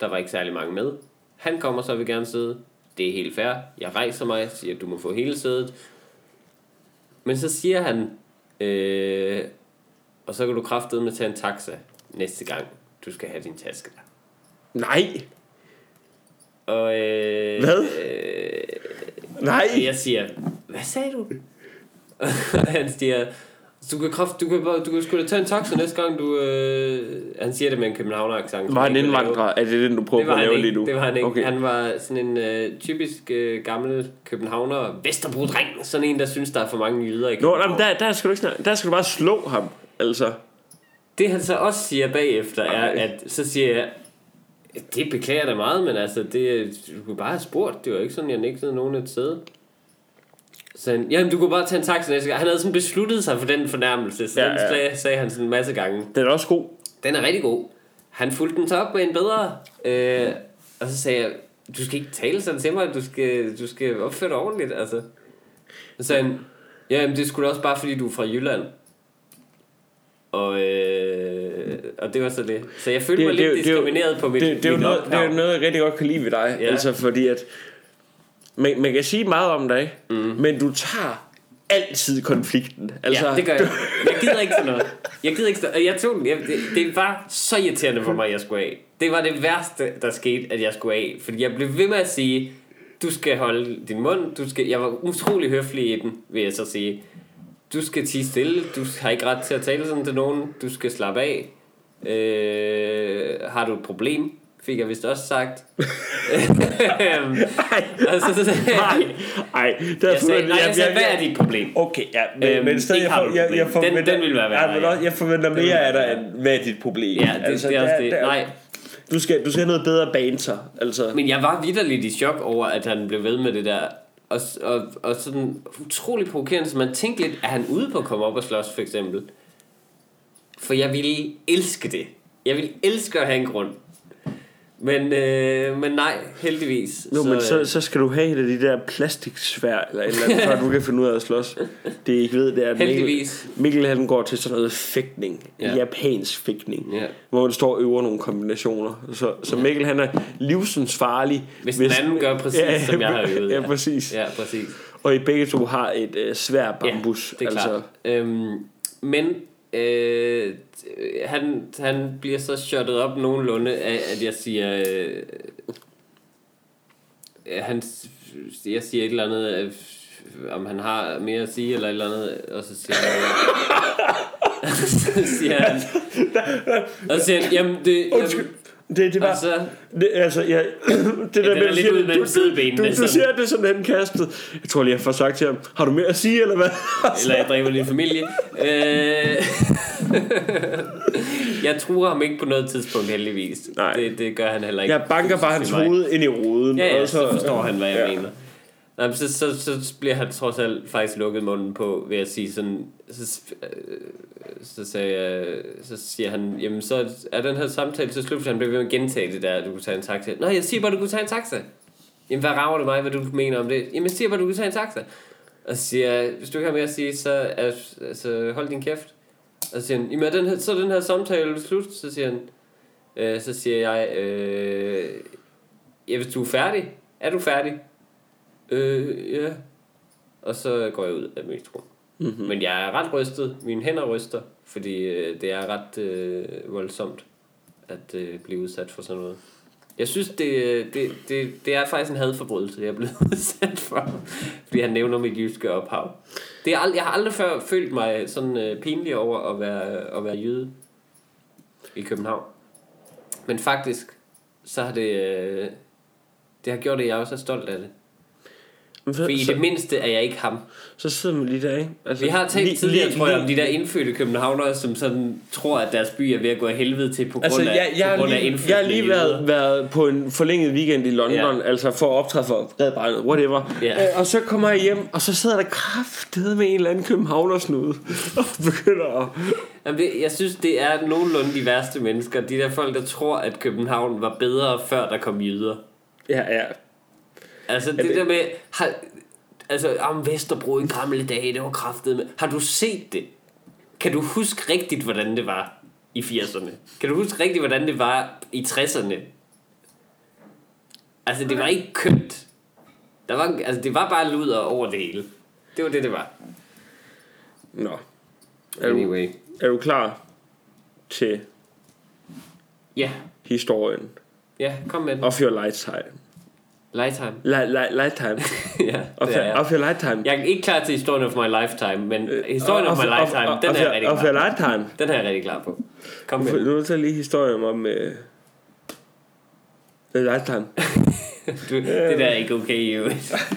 Speaker 1: Der var ikke særlig mange med. Han kommer så og vil gerne sidde. Det er helt fair. Jeg rejser mig, siger, du må få hele sædet. Men så siger han, øh, og så kan du kraftedeme tage en taxa næste gang, du skal have din taske der.
Speaker 2: Nej,
Speaker 1: Og øh,
Speaker 2: Hvad?
Speaker 1: Øh,
Speaker 2: nej.
Speaker 1: og jeg siger, hvad sagde du? Og han siger, du kan, kraft, du kan, bare- du kan sgu da tage en taxa næste gang du... Øh... Han siger det med en københavner-accent. som
Speaker 2: Var
Speaker 1: jeg
Speaker 2: han
Speaker 1: ikke kan lave.
Speaker 2: indvandrer? Er det den, du prøver
Speaker 1: Det
Speaker 2: på
Speaker 1: var,
Speaker 2: at
Speaker 1: han
Speaker 2: lave
Speaker 1: ikke,
Speaker 2: lige nu?
Speaker 1: det var han ikke. Okay.
Speaker 2: Okay.
Speaker 1: Han var sådan en øh, typisk øh, gammel københavner Vesterbro-dreng. Sådan en, der synes, der er for mange jyder i
Speaker 2: Nå, nej,
Speaker 1: København.
Speaker 2: men der, der, skal du ikke snakke. der skal du bare slå ham, altså.
Speaker 1: Det han så også siger bagefter er,
Speaker 2: Ej.
Speaker 1: at så siger jeg, det beklager jeg da meget, men altså, det, du kunne bare have spurgt. Det var ikke sådan, jeg nægtede nogen et sæde. Så han, jamen, du kunne bare tage en taxa næste gang. Han havde sådan besluttet sig for den fornærmelse, så
Speaker 2: Ja,
Speaker 1: ja, den
Speaker 2: ja.
Speaker 1: sagde, sagde han sådan en masse gange.
Speaker 2: Den er også god.
Speaker 1: Den er rigtig god. Han fulgte den så op med en bedre. Øh, og så sagde jeg, du skal ikke tale sådan til mig, du skal, du skal opføre dig ordentligt, altså. Så sagde han, ja, men det skulle også bare, fordi du er fra Jylland. Og, øh, og det var så det. Så jeg følte det, mig lidt
Speaker 2: det er jo-
Speaker 1: diskrimineret på mit,
Speaker 2: det, det, er jo
Speaker 1: mit
Speaker 2: noget, det er jo
Speaker 1: opdrag.
Speaker 2: noget, jeg rigtig godt kan lide ved dig.
Speaker 1: Ja.
Speaker 2: Ja. Altså, fordi at... Man, man kan sige meget om dig, mm. men du tager altid konflikten. Altså,
Speaker 1: Ja, det gør jeg. Jeg gider ikke sådan noget. Jeg gider ikke stå, jeg tog den. Jeg, det, det, var så irriterende for mig, at jeg skulle af. Det var det værste, der skete, at jeg skulle af. Fordi jeg blev ved med at sige, du skal holde din mund. Du skal, jeg var utrolig høflig i den, vil jeg så sige. Du skal tige stille. Du har ikke ret til at tale sådan til nogen. Du skal slappe af. Øh, har du et problem? Fik jeg vist også sagt. Øhm, og så- så-
Speaker 2: Nej, nej. Der
Speaker 1: jeg sagde, nej, jeg sagde, hvad er
Speaker 2: det?
Speaker 1: dit problem?
Speaker 2: Okay, ja, men,
Speaker 1: Øhm,
Speaker 2: øhm, men stadig,
Speaker 1: ikke har
Speaker 2: jeg,
Speaker 1: du
Speaker 2: for,
Speaker 1: et
Speaker 2: jeg,
Speaker 1: problem. Den-
Speaker 2: jeg forventer,
Speaker 1: den ville være værre,
Speaker 2: ja, men
Speaker 1: ja.
Speaker 2: også, jeg forventer mere af dig, end hvad er dit problem?
Speaker 1: Ja, det, altså, det er også
Speaker 2: der-
Speaker 1: det.
Speaker 2: der-
Speaker 1: Nej,
Speaker 2: Du skal, du skal have noget bedre banter, altså.
Speaker 1: Men jeg var vidderligt i chok over, at han blev ved med det der. Og, og, og sådan utrolig provokerende, så man tænkte lidt, er han ude på at komme op og slås, for eksempel? For jeg ville elske det. Jeg ville elske at have en grund. Men, øh, men nej, heldigvis.
Speaker 2: Jo, så, men så,
Speaker 1: øh,
Speaker 2: så skal du have et af de der plastiksvær eller et eller andet, før du kan finde ud af at slås. Det I ikke ved, det er, at Mikkel,
Speaker 1: Heldigvis.
Speaker 2: Mikkel han går til sådan noget fægtning.
Speaker 1: Ja.
Speaker 2: Ja. Japansk fægtning.
Speaker 1: øh, Ja.
Speaker 2: Hvor man står og øver nogle kombinationer. Så, så Mikkel han er livsens farlig.
Speaker 1: Hvis den anden gør præcis, som jeg har øvet,
Speaker 2: Ja,
Speaker 1: ja.
Speaker 2: ja præcis. Ja.
Speaker 1: Ja, præcis.
Speaker 2: Og I begge to har et øh, svær bambus. altså.
Speaker 1: Ja, det er klart. Øhm, men øh, t- han, han bliver så shottet op nogenlunde af, at jeg siger... Øh, øh, han, s- jeg siger et eller andet, øh, om han har mere at sige eller et eller andet, og så siger han... så siger han... Og så siger han, jamen det...
Speaker 2: Undskyld. Det, det var,
Speaker 1: Og så,
Speaker 2: Det, altså, ja, det der
Speaker 1: den er
Speaker 2: med, at
Speaker 1: lidt
Speaker 2: sige,
Speaker 1: ud
Speaker 2: du,
Speaker 1: mellem sidebenene,
Speaker 2: du, du,
Speaker 1: sådan.
Speaker 2: du ser det sådan kastet. Jeg tror lige, jeg får sagt til ham, har du mere at sige, eller hvad?
Speaker 1: Eller jeg dræber din familie. Øh... jeg tror ham ikke på noget tidspunkt, heldigvis.
Speaker 2: Nej.
Speaker 1: Det, det gør han heller ikke.
Speaker 2: Jeg banker bare hans
Speaker 1: Til mig.
Speaker 2: hoved ind i ruden.
Speaker 1: Ja, ja,
Speaker 2: og
Speaker 1: så forstår han, hvad jeg
Speaker 2: ja.
Speaker 1: mener. Nej, men så, så, så bliver han trods alt faktisk lukket munden på, ved at sige sådan... Så, øh, så, sagde jeg, så siger han, jamen så er den her samtale til slut, for han bliver ved med at gentage det der, at du kunne tage en taxa. Nej, jeg siger bare, du kunne tage en taxa. Jamen, hvad rager det mig, hvad du mener om det? Jamen, jeg siger bare, du kunne tage en taxa. Og så siger jeg, hvis du ikke har mere at sige, så er, altså, hold din kæft. Og så siger han, jamen, er den her, så er den her samtale slut. Så siger han, øh, så siger jeg, øh, ja, hvis du er færdig, er du færdig? Øh, ja. Og så går jeg ud af metroen. Mm-hmm. Men jeg er ret rystet. Mine hænder ryster, fordi øh, det er ret øh, voldsomt at øh, blive udsat for sådan noget. Jeg synes, det, øh, det, det, det er faktisk en hadforbrydelse, jeg er blevet udsat for, fordi han nævner mit jyske ophav. Det er ald- jeg har aldrig før følt mig sådan øh, pinlig over at være, at være jøde i København. Men faktisk, så har det, øh, det har gjort, at jeg også er stolt af det.
Speaker 2: Men
Speaker 1: For i
Speaker 2: så,
Speaker 1: det mindste er jeg ikke ham.
Speaker 2: så, så sidder man lige der, ikke? Altså,
Speaker 1: Vi har talt
Speaker 2: lige-
Speaker 1: tidligere,
Speaker 2: lige-
Speaker 1: tror jeg,
Speaker 2: lige-
Speaker 1: om de der indfødte københavnere, som sådan tror, at deres by er ved at gå af helvede til på grund
Speaker 2: Altså,
Speaker 1: af,
Speaker 2: jeg, jeg,
Speaker 1: på
Speaker 2: har
Speaker 1: grund af
Speaker 2: lige,
Speaker 1: indfødte
Speaker 2: jeg har lige været, været på en forlænget weekend i London,
Speaker 1: Ja.
Speaker 2: ja. altså for at optræde for Red Barnet, whatever.
Speaker 1: Ja.
Speaker 2: Øh, og så kommer jeg hjem, og så sidder der kraftede med en eller anden københavnersnude, og begynder at...
Speaker 1: Jamen, det, jeg synes, det er nogenlunde de værste mennesker. De der folk, der tror, at København var bedre, før der kom jyder.
Speaker 2: Ja, ja.
Speaker 1: Altså, det,
Speaker 2: det-
Speaker 1: der med... Har, altså, om Vesterbro i gamle dage, det var kraftet med. Har du set det? Kan du huske rigtigt, hvordan det var i 80'erne? Kan du huske rigtigt, hvordan det var i 60'erne? Altså, det var ikke kønt. Der var, altså, det var bare luder over det hele. Det var det, det var.
Speaker 2: Nå. Er du,
Speaker 1: Anyway.
Speaker 2: er du klar til
Speaker 1: Ja,
Speaker 2: historien
Speaker 1: ja, kom med den.
Speaker 2: of your lifetime?
Speaker 1: Lifetime.
Speaker 2: Li- li- lifetime.
Speaker 1: ja,
Speaker 2: Of,
Speaker 1: det er jeg. Øh,
Speaker 2: of your lifetime.
Speaker 1: Jeg er ikke klar til historien of my lifetime, men historien of my lifetime,
Speaker 2: of,
Speaker 1: den
Speaker 2: of,
Speaker 1: er jeg rigtig
Speaker 2: Of
Speaker 1: klar
Speaker 2: your lifetime.
Speaker 1: Den er jeg rigtig klar på. Kom med. den.
Speaker 2: Nu tager jeg lige historien om... Øh, the lifetime.
Speaker 1: Du, det der er ikke okay, jo.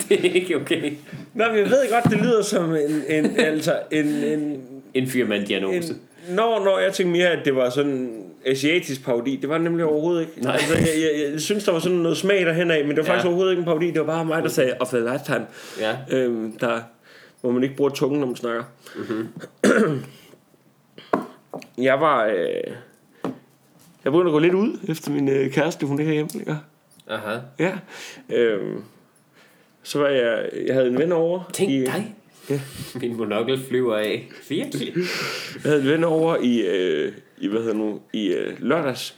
Speaker 1: Det er ikke okay.
Speaker 2: Nå, men jeg ved godt, det lyder som en... en altså, en... en
Speaker 1: En fyr med en diagnose.
Speaker 2: en Nå, nå, jeg tænkte mere, at det var sådan asiatisk parodi. Det var det nemlig overhovedet ikke.
Speaker 1: Nej.
Speaker 2: Altså, jeg, jeg, jeg, synes, der var sådan noget smag derhen af, men det var
Speaker 1: Ja.
Speaker 2: faktisk overhovedet ikke en parodi. Det var bare mig, der sagde, of the lifetime.
Speaker 1: Ja.
Speaker 2: øhm, der, hvor man ikke bruger tungen, når man snakker. Mm-hmm. jeg var... Øh, jeg begyndte at gå lidt ud efter min øh, kæreste, hun ikke er hjemme længere.
Speaker 1: Aha.
Speaker 2: Ja. Øhm, så var jeg... Jeg havde en ven over...
Speaker 1: Tænk
Speaker 2: i,
Speaker 1: dig. Min monokkel flyver af. Virkelig.
Speaker 2: Jeg havde en ven over i... Øh, i hvad hedder det nu? I øh, lørdags.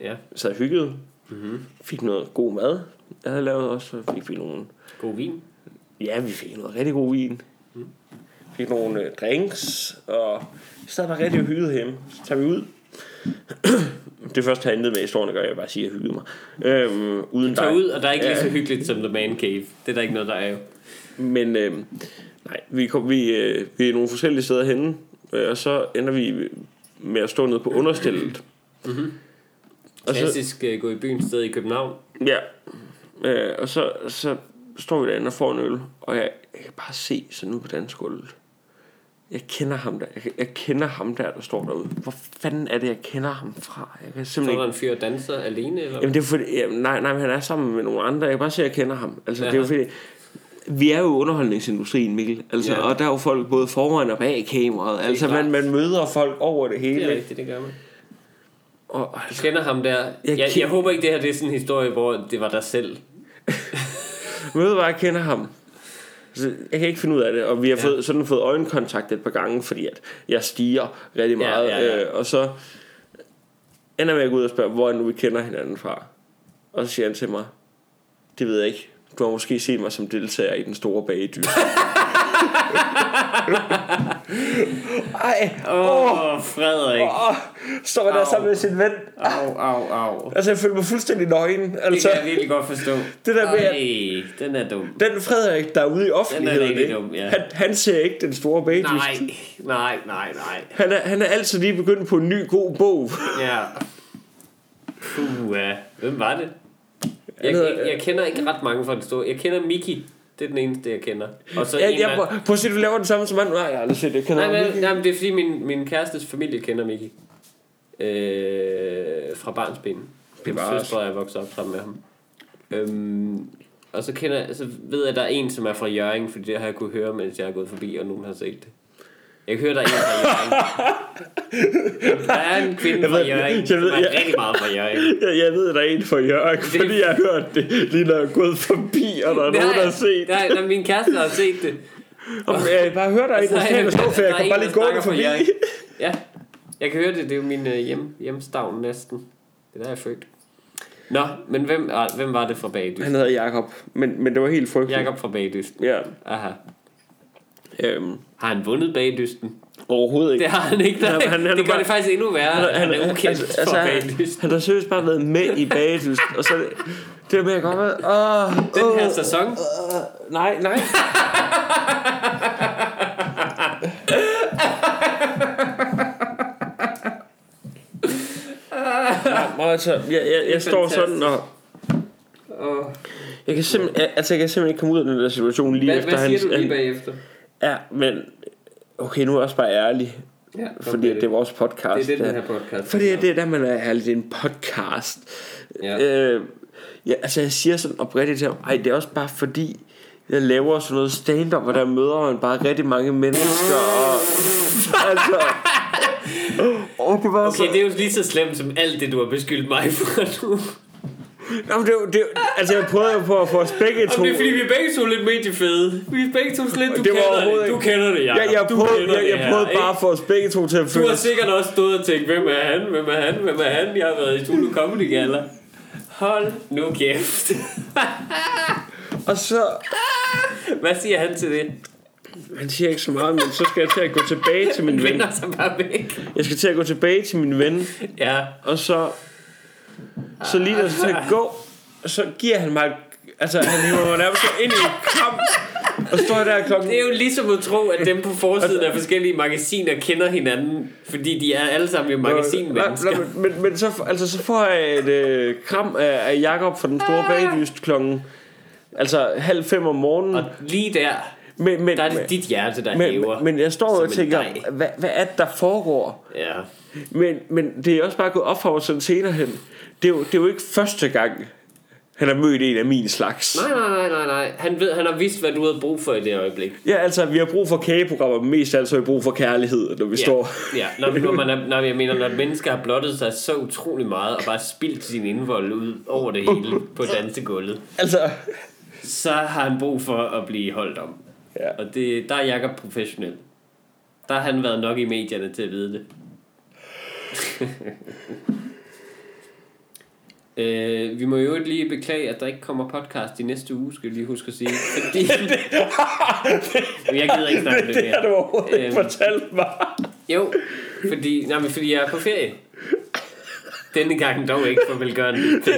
Speaker 1: Ja.
Speaker 2: Så jeg hyggede. Mm-hmm. Fik noget god mad. Jeg havde lavet også, så fik vi nogle
Speaker 1: God vin.
Speaker 2: Ja, vi fik noget rigtig god vin. fik nogle øh, drinks, og vi sad bare rigtig og hyggede hjemme. Så tager vi ud. det første har intet med historien at gøre, jeg vil bare sige, at jeg hyggede mig. Øhm, uden
Speaker 1: Tag
Speaker 2: dig.
Speaker 1: ud, og der er ikke
Speaker 2: Ja.
Speaker 1: lige så hyggeligt som The Man Cave. Det er der ikke noget, der er jo.
Speaker 2: Men øh, nej, vi, kom, vi, øh, vi er nogle forskellige steder henne, øh, og så ender vi med at stå nede på understillet. Og så-
Speaker 1: Mhm. Klassisk uh, gå i byen sted i København.
Speaker 2: Ja. Øh, og så, så står vi derinde og får en øl, og jeg, jeg kan bare se sådan ud på dansgulvet. Jeg kender ham der. Jeg, kan- jeg kender ham der, der står derude. Hvor fanden er det, jeg kender ham fra? Jeg kan
Speaker 1: Så
Speaker 2: simpelthen
Speaker 1: er der
Speaker 2: ikke...
Speaker 1: en fyr og danser alene, eller?
Speaker 2: Jamen, det er fordi... Jamen, nej, nej, men han er sammen med nogle andre. Jeg kan bare se, at jeg kender ham. Altså, ja. det er jo
Speaker 1: Ja.
Speaker 2: fordi... Vi er jo i underholdningsindustrien, Mikkel. Altså,
Speaker 1: Ja.
Speaker 2: ja. Og der er jo folk både foran og bag kameraet. Altså,
Speaker 1: klart.
Speaker 2: man, man møder folk over det hele.
Speaker 1: det er
Speaker 2: Det
Speaker 1: rigtigt, det gør man.
Speaker 2: og,
Speaker 1: Du kender ham der. Jeg, jeg,
Speaker 2: kender-
Speaker 1: jeg håber ikke, det her det er sådan en historie, hvor det var dig selv.
Speaker 2: Møder bare, jeg kender ham. Så jeg kan ikke finde ud af det, og vi har fået, sådan fået øjenkontakt et par gange, fordi at jeg stiger rigtig
Speaker 1: Ja,
Speaker 2: meget,
Speaker 1: ja, ja.
Speaker 2: Øh, og så ender jeg med at gå ud og spørge, hvor er det nu vi kender hinanden fra. Og så siger han til mig, det ved jeg ikke, du har måske set mig som deltager i den store bagedyst. Ej, åh,
Speaker 1: Åh, oh, Frederik.
Speaker 2: åh, står man der
Speaker 1: Au.
Speaker 2: sammen med sin ven.
Speaker 1: Au, au, au.
Speaker 2: Altså, jeg føler mig fuldstændig nøgen.
Speaker 1: Det
Speaker 2: Altså,
Speaker 1: kan jeg virkelig godt forstå.
Speaker 2: Det der med, at-
Speaker 1: Ej, den er dum.
Speaker 2: den Frederik, der er ude i offentligheden,
Speaker 1: rigtig
Speaker 2: ikke?
Speaker 1: dum, ja.
Speaker 2: han, han ser ikke den store bagedyst.
Speaker 1: Nej, nej, nej, nej.
Speaker 2: Han er, han er altid lige begyndt på en ny god bog.
Speaker 1: Ja. Puh, hvem var det? Jeg,
Speaker 2: hedder-
Speaker 1: jeg, jeg kender ikke ret mange fra den store. Jeg kender Miki. Det er den eneste, jeg kender. Og så
Speaker 2: Jeg,
Speaker 1: en
Speaker 2: jeg,
Speaker 1: mand-
Speaker 2: prøv, prøv at se, du laver den samme som han. Nej, jeg har aldrig set det. Kan
Speaker 1: Nej, nej, nej, men det er fordi min, min kærestes familie kender Miki. Øh, fra barnsben. Min
Speaker 2: Bevares.
Speaker 1: søster er vokset op sammen med ham. Øhm, og så, kender, så ved jeg, at der er en, som er fra Jørgen, fordi det har jeg kunne høre, mens jeg er gået forbi, og nogen har set det. Jeg kan høre, der er en fra Jørgen. Der er en kvinde
Speaker 2: Jeg
Speaker 1: fra
Speaker 2: ved-
Speaker 1: Jørgen,
Speaker 2: jeg
Speaker 1: som
Speaker 2: ved-
Speaker 1: er
Speaker 2: jeg-
Speaker 1: rigtig meget fra Jørgen.
Speaker 2: Jeg, jeg ved, der er en for Jørgen, fordi jeg har hørt det lige når jeg er gået forbi, og der er nogen, der har set.
Speaker 1: Nej, nej, min kæreste har set det.
Speaker 2: Om Jeg bare hører, der er en, der
Speaker 1: Nej,
Speaker 2: snakker står for,
Speaker 1: Altså,
Speaker 2: jeg
Speaker 1: der er
Speaker 2: kan
Speaker 1: en,
Speaker 2: bare
Speaker 1: der
Speaker 2: lige gå
Speaker 1: snakker
Speaker 2: den
Speaker 1: for
Speaker 2: forbi.
Speaker 1: Jørgen. Ja, jeg kan høre det. Det er jo min øh, hjem, hjemstavn næsten. Det er der, jeg er født. Nå, men hvem, ah, hvem var det fra Bagdyst?
Speaker 2: Han hedder Jakob, men, men det var helt frygteligt.
Speaker 1: Jakob fra Bagdyst.
Speaker 2: Ja,
Speaker 1: Aha.
Speaker 2: øhm,
Speaker 1: Har han vundet Bagdysten?
Speaker 2: overhovedet ikke.
Speaker 1: Det har han ikke. Nej.
Speaker 2: Han- han- han er
Speaker 1: det gør
Speaker 2: bare-
Speaker 1: det faktisk endnu værre. Han, han, er ukendt altså, for Bagdysten.
Speaker 2: han har seriøst bare været med i bagedyst, og så det, det med, jeg godt med, åh,
Speaker 1: Den her
Speaker 2: åh,
Speaker 1: sæson,
Speaker 2: Øh, nej, nej. Nej, men altså, jeg, jeg, jeg står sådan og...
Speaker 1: og
Speaker 2: Jeg kan, simpelthen, jeg, altså, jeg kan simpelthen ikke komme ud af den der situation lige
Speaker 1: hvad,
Speaker 2: efter
Speaker 1: hvad siger
Speaker 2: hans...
Speaker 1: du lige
Speaker 2: han-
Speaker 1: bagefter?
Speaker 2: ja, men... Okay, nu er jeg også bare ærlig.
Speaker 1: Ja,
Speaker 2: Fordi det er vores podcast.
Speaker 1: det er det,
Speaker 2: ja.
Speaker 1: den her podcast.
Speaker 2: Fordi
Speaker 1: handler
Speaker 2: det er der, man er ærlig, det er en podcast.
Speaker 1: Ja.
Speaker 2: Øh, ja, altså jeg siger sådan oprigtigt til ham, ej, det er også bare fordi, jeg laver sådan noget stand-up, og der møder man bare rigtig mange mennesker, og, altså, og det var
Speaker 1: om.
Speaker 2: okay,
Speaker 1: Okay,
Speaker 2: så,
Speaker 1: det er jo lige så slemt som alt det, du har beskyldt mig for nu.
Speaker 2: Nå, men det, var- det, var- altså jeg prøvede jo på at få os begge to.
Speaker 1: Jamen, det er fordi, vi er begge to lidt mediefede. Vi er begge to lidt, du
Speaker 2: Det var
Speaker 1: kender
Speaker 2: overhovedet
Speaker 1: det. Du
Speaker 2: ikke-
Speaker 1: kender det, Jacob.
Speaker 2: jeg, jeg,
Speaker 1: du
Speaker 2: prøvede,
Speaker 1: kender
Speaker 2: jeg,
Speaker 1: det
Speaker 2: jeg
Speaker 1: her,
Speaker 2: prøvede bare
Speaker 1: ikke?
Speaker 2: at få os begge to til at
Speaker 1: Du
Speaker 2: føle
Speaker 1: har
Speaker 2: os.
Speaker 1: sikkert også stået og tænkt, hvem er han, hvem er han, hvem er han? Jeg har været i Tulu Comedy Gala. Hold nu kæft.
Speaker 2: Og så,
Speaker 1: Hvad siger han til det?
Speaker 2: han siger ikke så meget, men så skal jeg til at gå tilbage til min ven.
Speaker 1: Vinder sig bare væk.
Speaker 2: Jeg skal til at gå tilbage til min ven,
Speaker 1: Ja.
Speaker 2: Og så Så lige da jeg skal til at gå Så giver han mig et- Altså han hiver mig nærmest ind i en kamp Og står der klokken
Speaker 1: Det er jo ligesom at tro, at dem på forsiden af forskellige magasiner kender hinanden, fordi de er alle sammen jo magasinmennesker.
Speaker 2: Øh, Nej, nej, men, men, men så, altså, så får jeg et øh, kram af, af Jakob fra den store baglyst klokken Altså halv fem om morgenen
Speaker 1: Og lige der,
Speaker 2: men, men,
Speaker 1: der er det
Speaker 2: men,
Speaker 1: dit hjerte, der hæver.
Speaker 2: men, men jeg står og
Speaker 1: en
Speaker 2: tænker
Speaker 1: dej.
Speaker 2: hvad, hvad er det der foregår
Speaker 1: Ja.
Speaker 2: Men, men det er også bare gået op for mig sådan senere hen det er, jo, det er jo ikke første gang Han har mødt en af min slags
Speaker 1: Nej, nej, nej, nej, nej. Han, ved, han har vidst, hvad du havde brug for i det øjeblik.
Speaker 2: Ja, altså, vi har brug for kageprogrammer, men mest af alt så har vi brug for kærlighed, når vi ja. står...
Speaker 1: Ja, når, når, man er, når jeg mener, når et menneske har blottet sig så utrolig meget og bare spildt sin indvold ud over det hele på dansegulvet,
Speaker 2: Altså,
Speaker 1: så har han brug for at blive holdt om.
Speaker 2: Ja.
Speaker 1: Og det, der er Jakob professionel. Der har han været nok i medierne til at vide det. Øh, vi må jo lige beklage, at der ikke kommer podcast i næste uge, skal jeg lige huske at sige. Fordi... Men jeg gider ikke snakke om
Speaker 2: det,
Speaker 1: det
Speaker 2: det har du
Speaker 1: mere.
Speaker 2: overhovedet ikke
Speaker 1: Øhm.
Speaker 2: fortalt mig.
Speaker 1: Jo, fordi, nej, men fordi jeg er på ferie. Denne gang dog ikke for velgørende.
Speaker 2: Det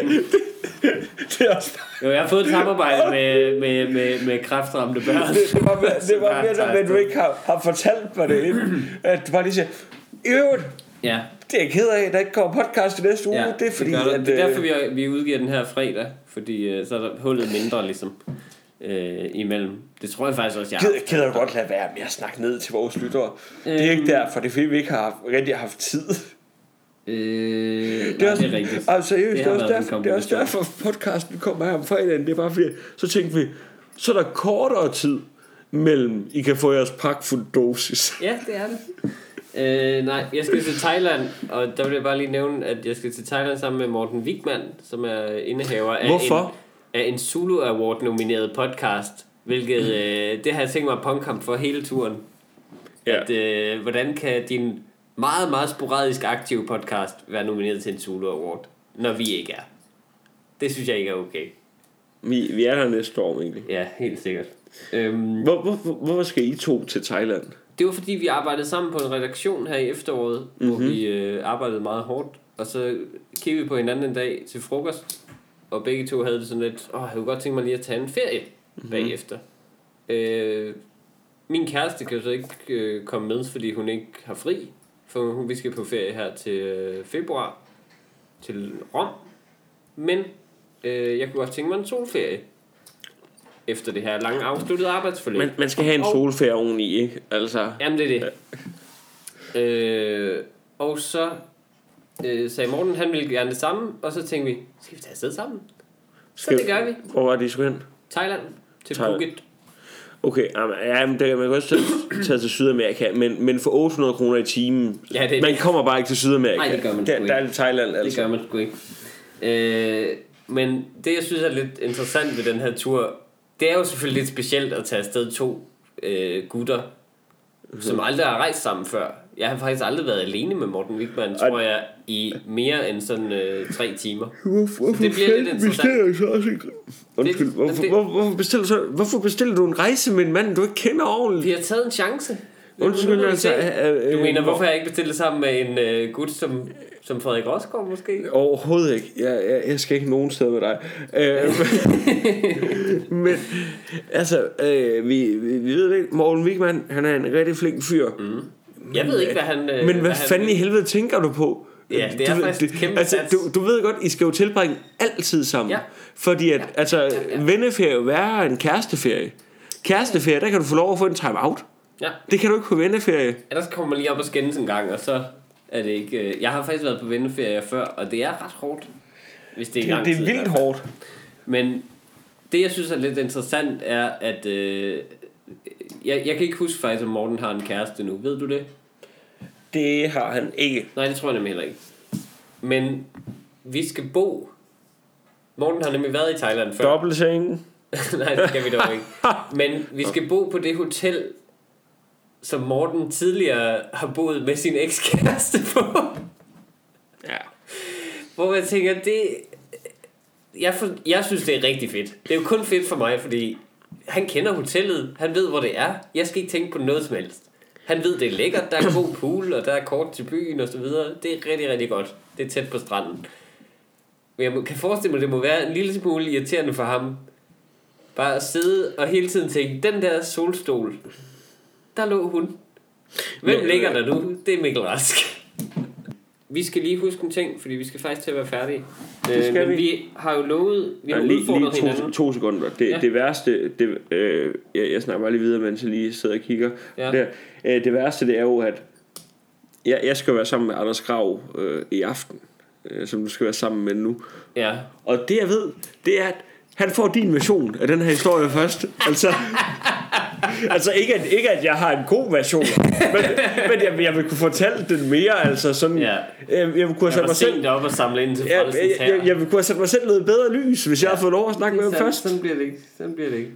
Speaker 2: er også bare,
Speaker 1: Jo, jeg har fået et samarbejde med, med, med, med kræftramte børn.
Speaker 2: det var, mere- det var mere, som at du
Speaker 1: Fantastisk.
Speaker 2: ikke har, har fortalt mig det inden. At du bare lige siger, i øvrigt,
Speaker 1: Ja,
Speaker 2: det er jeg ked af, der ikke kommer podcast i næste uge.
Speaker 1: ja
Speaker 2: det er fordi,
Speaker 1: det, gør
Speaker 2: at,
Speaker 1: det. det er
Speaker 2: øh,
Speaker 1: derfor, vi, er- vi udgiver den her fredag, fordi øh, så er der hullet mindre ligesom øh, imellem. Det tror jeg faktisk også, jeg har.
Speaker 2: Gider, gider du godt lade være med at snakke ned til vores lyttere? Det er
Speaker 1: Øhm.
Speaker 2: ikke derfor, det er fordi, vi ikke har haft, rigtig har haft tid.
Speaker 1: Øh, nej,
Speaker 2: Det er, også,
Speaker 1: det er rigtigt.
Speaker 2: Altså, seriøst, det,
Speaker 1: har
Speaker 2: er også
Speaker 1: været en
Speaker 2: derfor, det er også derfor, podcasten kommer her om fredagen. Det er bare fordi, så tænkte vi, så er der kortere tid mellem, I kan få jeres pakfuld dosis.
Speaker 1: Ja, det er det. Øh, nej, jeg skal til Thailand, og der vil jeg bare lige nævne, at jeg skal til Thailand sammen med Morten Wigman, som er indehaver af
Speaker 2: Hvorfor?
Speaker 1: en, af en Zulu Award nomineret podcast, hvilket øh, det har jeg tænkt mig at punkhamp for hele turen.
Speaker 2: Ja.
Speaker 1: At, øh, hvordan kan din meget, meget sporadisk aktive podcast være nomineret til en Zulu Award, når vi ikke er? Det synes jeg ikke er okay.
Speaker 2: Vi, vi er der næste år, egentlig.
Speaker 1: Ja, helt sikkert. Øhm,
Speaker 2: Hvor, hvor, hvor, hvorfor skal I to til Thailand?
Speaker 1: Det var fordi vi arbejdede sammen på en redaktion her i efteråret, mm-hmm. hvor vi øh, arbejdede meget hårdt. Og så kiggede vi på hinanden en dag til frokost, og begge to havde det sådan lidt, åh, jeg kunne godt tænke mig lige at tage en ferie mm-hmm. bagefter. Øh, min kæreste kan jo så ikke øh, komme med, fordi hun ikke har fri, for hun, vi skal på ferie her til øh, februar, til Rom. Men øh, jeg kunne godt tænke mig en solferie, efter det her lange afsluttede arbejdsforløb.
Speaker 2: Man, man skal have en
Speaker 1: Og-
Speaker 2: solferie oveni, ikke? Altså,
Speaker 1: Jamen, det er det. Øh, og så øh, sagde Morten, han ville gerne det samme, og så tænkte vi, skal vi tage afsted sammen? Så
Speaker 2: Skal-
Speaker 1: det gør vi.
Speaker 2: hvor var det, I skulle hen?
Speaker 1: Thailand til
Speaker 2: Thailand.
Speaker 1: Phuket.
Speaker 2: Okay, jamen, ja, men det, kan- man kan også tage, tage til Sydamerika, men, men for 800 kroner i timen,
Speaker 1: Ja, det er
Speaker 2: man
Speaker 1: det.
Speaker 2: kommer bare ikke til Sydamerika.
Speaker 1: Nej, det gør man
Speaker 2: der,
Speaker 1: sgu
Speaker 2: der er det Thailand,
Speaker 1: Det
Speaker 2: altså.
Speaker 1: gør man sgu ikke. Øh, men det, jeg synes er lidt interessant ved den her tur, det er jo selvfølgelig lidt specielt at tage afsted to øh, gutter,
Speaker 2: Mhm.
Speaker 1: som aldrig har rejst sammen før. Jeg har faktisk aldrig været alene med Morten Wigman, tror jeg, i mere end sådan øh, tre timer.
Speaker 2: Hvorfor, hvorfor
Speaker 1: Det bliver lidt
Speaker 2: fanden
Speaker 1: interessant.
Speaker 2: bestiller jeg så også ikke? Undskyld,
Speaker 1: Det-
Speaker 2: hvorfor,
Speaker 1: det-
Speaker 2: hvor, hvorfor, bestiller du så, hvorfor bestiller du en rejse med en mand, du ikke kender
Speaker 1: Vi
Speaker 2: ordentligt?
Speaker 1: har taget en chance. Nu må
Speaker 2: Undskyld,
Speaker 1: vi
Speaker 2: altså.
Speaker 1: se.
Speaker 2: øh, øh,
Speaker 1: Du mener,
Speaker 2: hvor-
Speaker 1: hvorfor jeg ikke bestilte sammen med en øh, gut som, som Frederik Rosgaard måske?
Speaker 2: Overhovedet ikke. Jeg, jeg, jeg skal ikke nogen steder med dig. Øh, men altså, øh, vi, vi, vi ved det ikke. Morten Wigman, han er en rigtig flink fyr. Mm.
Speaker 1: Jeg ved ikke, hvad han... Øh,
Speaker 2: Men hvad
Speaker 1: han-
Speaker 2: fanden i helvede tænker du på?
Speaker 1: Ja, det er
Speaker 2: du, ved-
Speaker 1: faktisk et kæmpe
Speaker 2: altså,
Speaker 1: sats.
Speaker 2: du, du ved godt, I skal jo tilbringe altid sammen.
Speaker 1: Ja.
Speaker 2: Fordi at, altså, venneferie er jo værre end kæresteferie. Kæresteferie, der kan du få lov at få en time-out.
Speaker 1: Ja,
Speaker 2: Det kan du ikke på venneferie.
Speaker 1: ellers kommer man lige op og skændes en gang, og så er det ikke... Øh, jeg har faktisk været på venneferie før, og det er ret hårdt, hvis det er i lang tid.
Speaker 2: hårdt.
Speaker 1: Men det, jeg synes er lidt interessant, er, at... Øh, jeg, jeg kan ikke huske faktisk, om Morten har en kæreste nu. Ved du det?
Speaker 2: Det har han ikke.
Speaker 1: Nej, det tror jeg nemlig heller ikke. Men vi skal bo... Morten har nemlig været i Thailand før.
Speaker 2: Dobbeltsengen.
Speaker 1: Nej, det skal vi dog ikke. Men vi skal bo på det hotel, som Morten tidligere har boet med sin ekskæreste på.
Speaker 2: Ja.
Speaker 1: Hvor jeg tænker, det... Jeg, for, jeg synes, det er rigtig fedt. Det er jo kun fedt for mig, fordi han kender hotellet, han ved, hvor det er. Jeg skal ikke tænke på noget som helst. Han ved, det er lækkert, der er god pool, og der er kort til byen osv. Det er rigtig, rigtig godt. Det er tæt på stranden. Men jeg må- kan forestille mig, at det må være en lille smule irriterende for ham. Bare at sidde og hele tiden tænke, den der solstol, der lå hun. Hvem
Speaker 2: Men-
Speaker 1: ligger der nu? Det er Mikkel Rask. Vi skal lige huske en ting, fordi vi skal faktisk til at være færdige. Det
Speaker 2: skal
Speaker 1: øh, men
Speaker 2: vi.
Speaker 1: vi. har jo lovet, vi
Speaker 2: Ja,
Speaker 1: har ja,
Speaker 2: lige,
Speaker 1: udfordret
Speaker 2: lige to,
Speaker 1: hinanden.
Speaker 2: to sekunder. Det,
Speaker 1: Ja.
Speaker 2: ja. det værste, det, øh, jeg, jeg snakker bare lige videre, mens jeg lige sidder og kigger.
Speaker 1: Ja.
Speaker 2: Der, øh, det værste, det er jo, at jeg, jeg skal være sammen med Anders Grav øh, i aften, øh, som du skal være sammen med nu.
Speaker 1: Ja.
Speaker 2: Og det jeg ved, det er, at han får din version af den her historie først. Altså, altså ikke, at, ikke at jeg har en god version, men, men jeg, jeg vil kunne fortælle den mere, altså sådan,
Speaker 1: Ja.
Speaker 2: jeg, jeg vil kunne have
Speaker 1: Jeg
Speaker 2: sat
Speaker 1: var
Speaker 2: mig selv
Speaker 1: sent op og samle ind til
Speaker 2: Ja,
Speaker 1: Frelsens
Speaker 2: jeg,
Speaker 1: Hær.
Speaker 2: jeg, jeg, vil kunne have sat mig selv noget bedre lys, hvis ja. jeg havde fået lov at snakke med ham
Speaker 1: Sådan-
Speaker 2: først.
Speaker 1: Sådan bliver det ikke. Sådan bliver det ikke.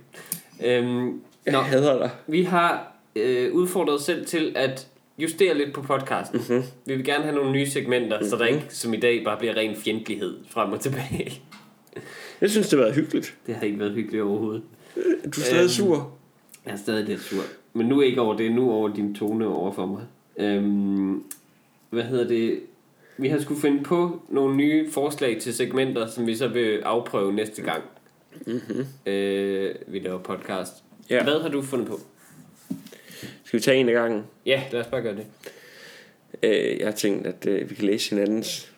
Speaker 1: Øhm,
Speaker 2: Jeg
Speaker 1: nå,
Speaker 2: hader dig.
Speaker 1: vi har øh, udfordret os selv til at justere lidt på podcasten.
Speaker 2: Mhm.
Speaker 1: Mm-hmm. Vi vil gerne have nogle nye segmenter, mm-hmm. så der ikke som i dag bare bliver ren fjendtlighed frem og tilbage.
Speaker 2: Jeg synes, det har været hyggeligt.
Speaker 1: Det har ikke været hyggeligt overhovedet.
Speaker 2: Du er stadig
Speaker 1: Øhm.
Speaker 2: sur.
Speaker 1: Jeg er stadig lidt sur. Men nu ikke over det, nu over din tone over for mig. Øhm, hvad hedder det? Vi har skulle finde på nogle nye forslag til segmenter, som vi så vil afprøve næste gang. Mm-hmm. Øh, vi laver podcast.
Speaker 2: Ja.
Speaker 1: Ja. Hvad har du fundet på?
Speaker 2: Skal vi tage en af gangen?
Speaker 1: Ja, lad os bare gøre det.
Speaker 2: Øh, jeg har tænkt, at øh, vi kan læse hinandens...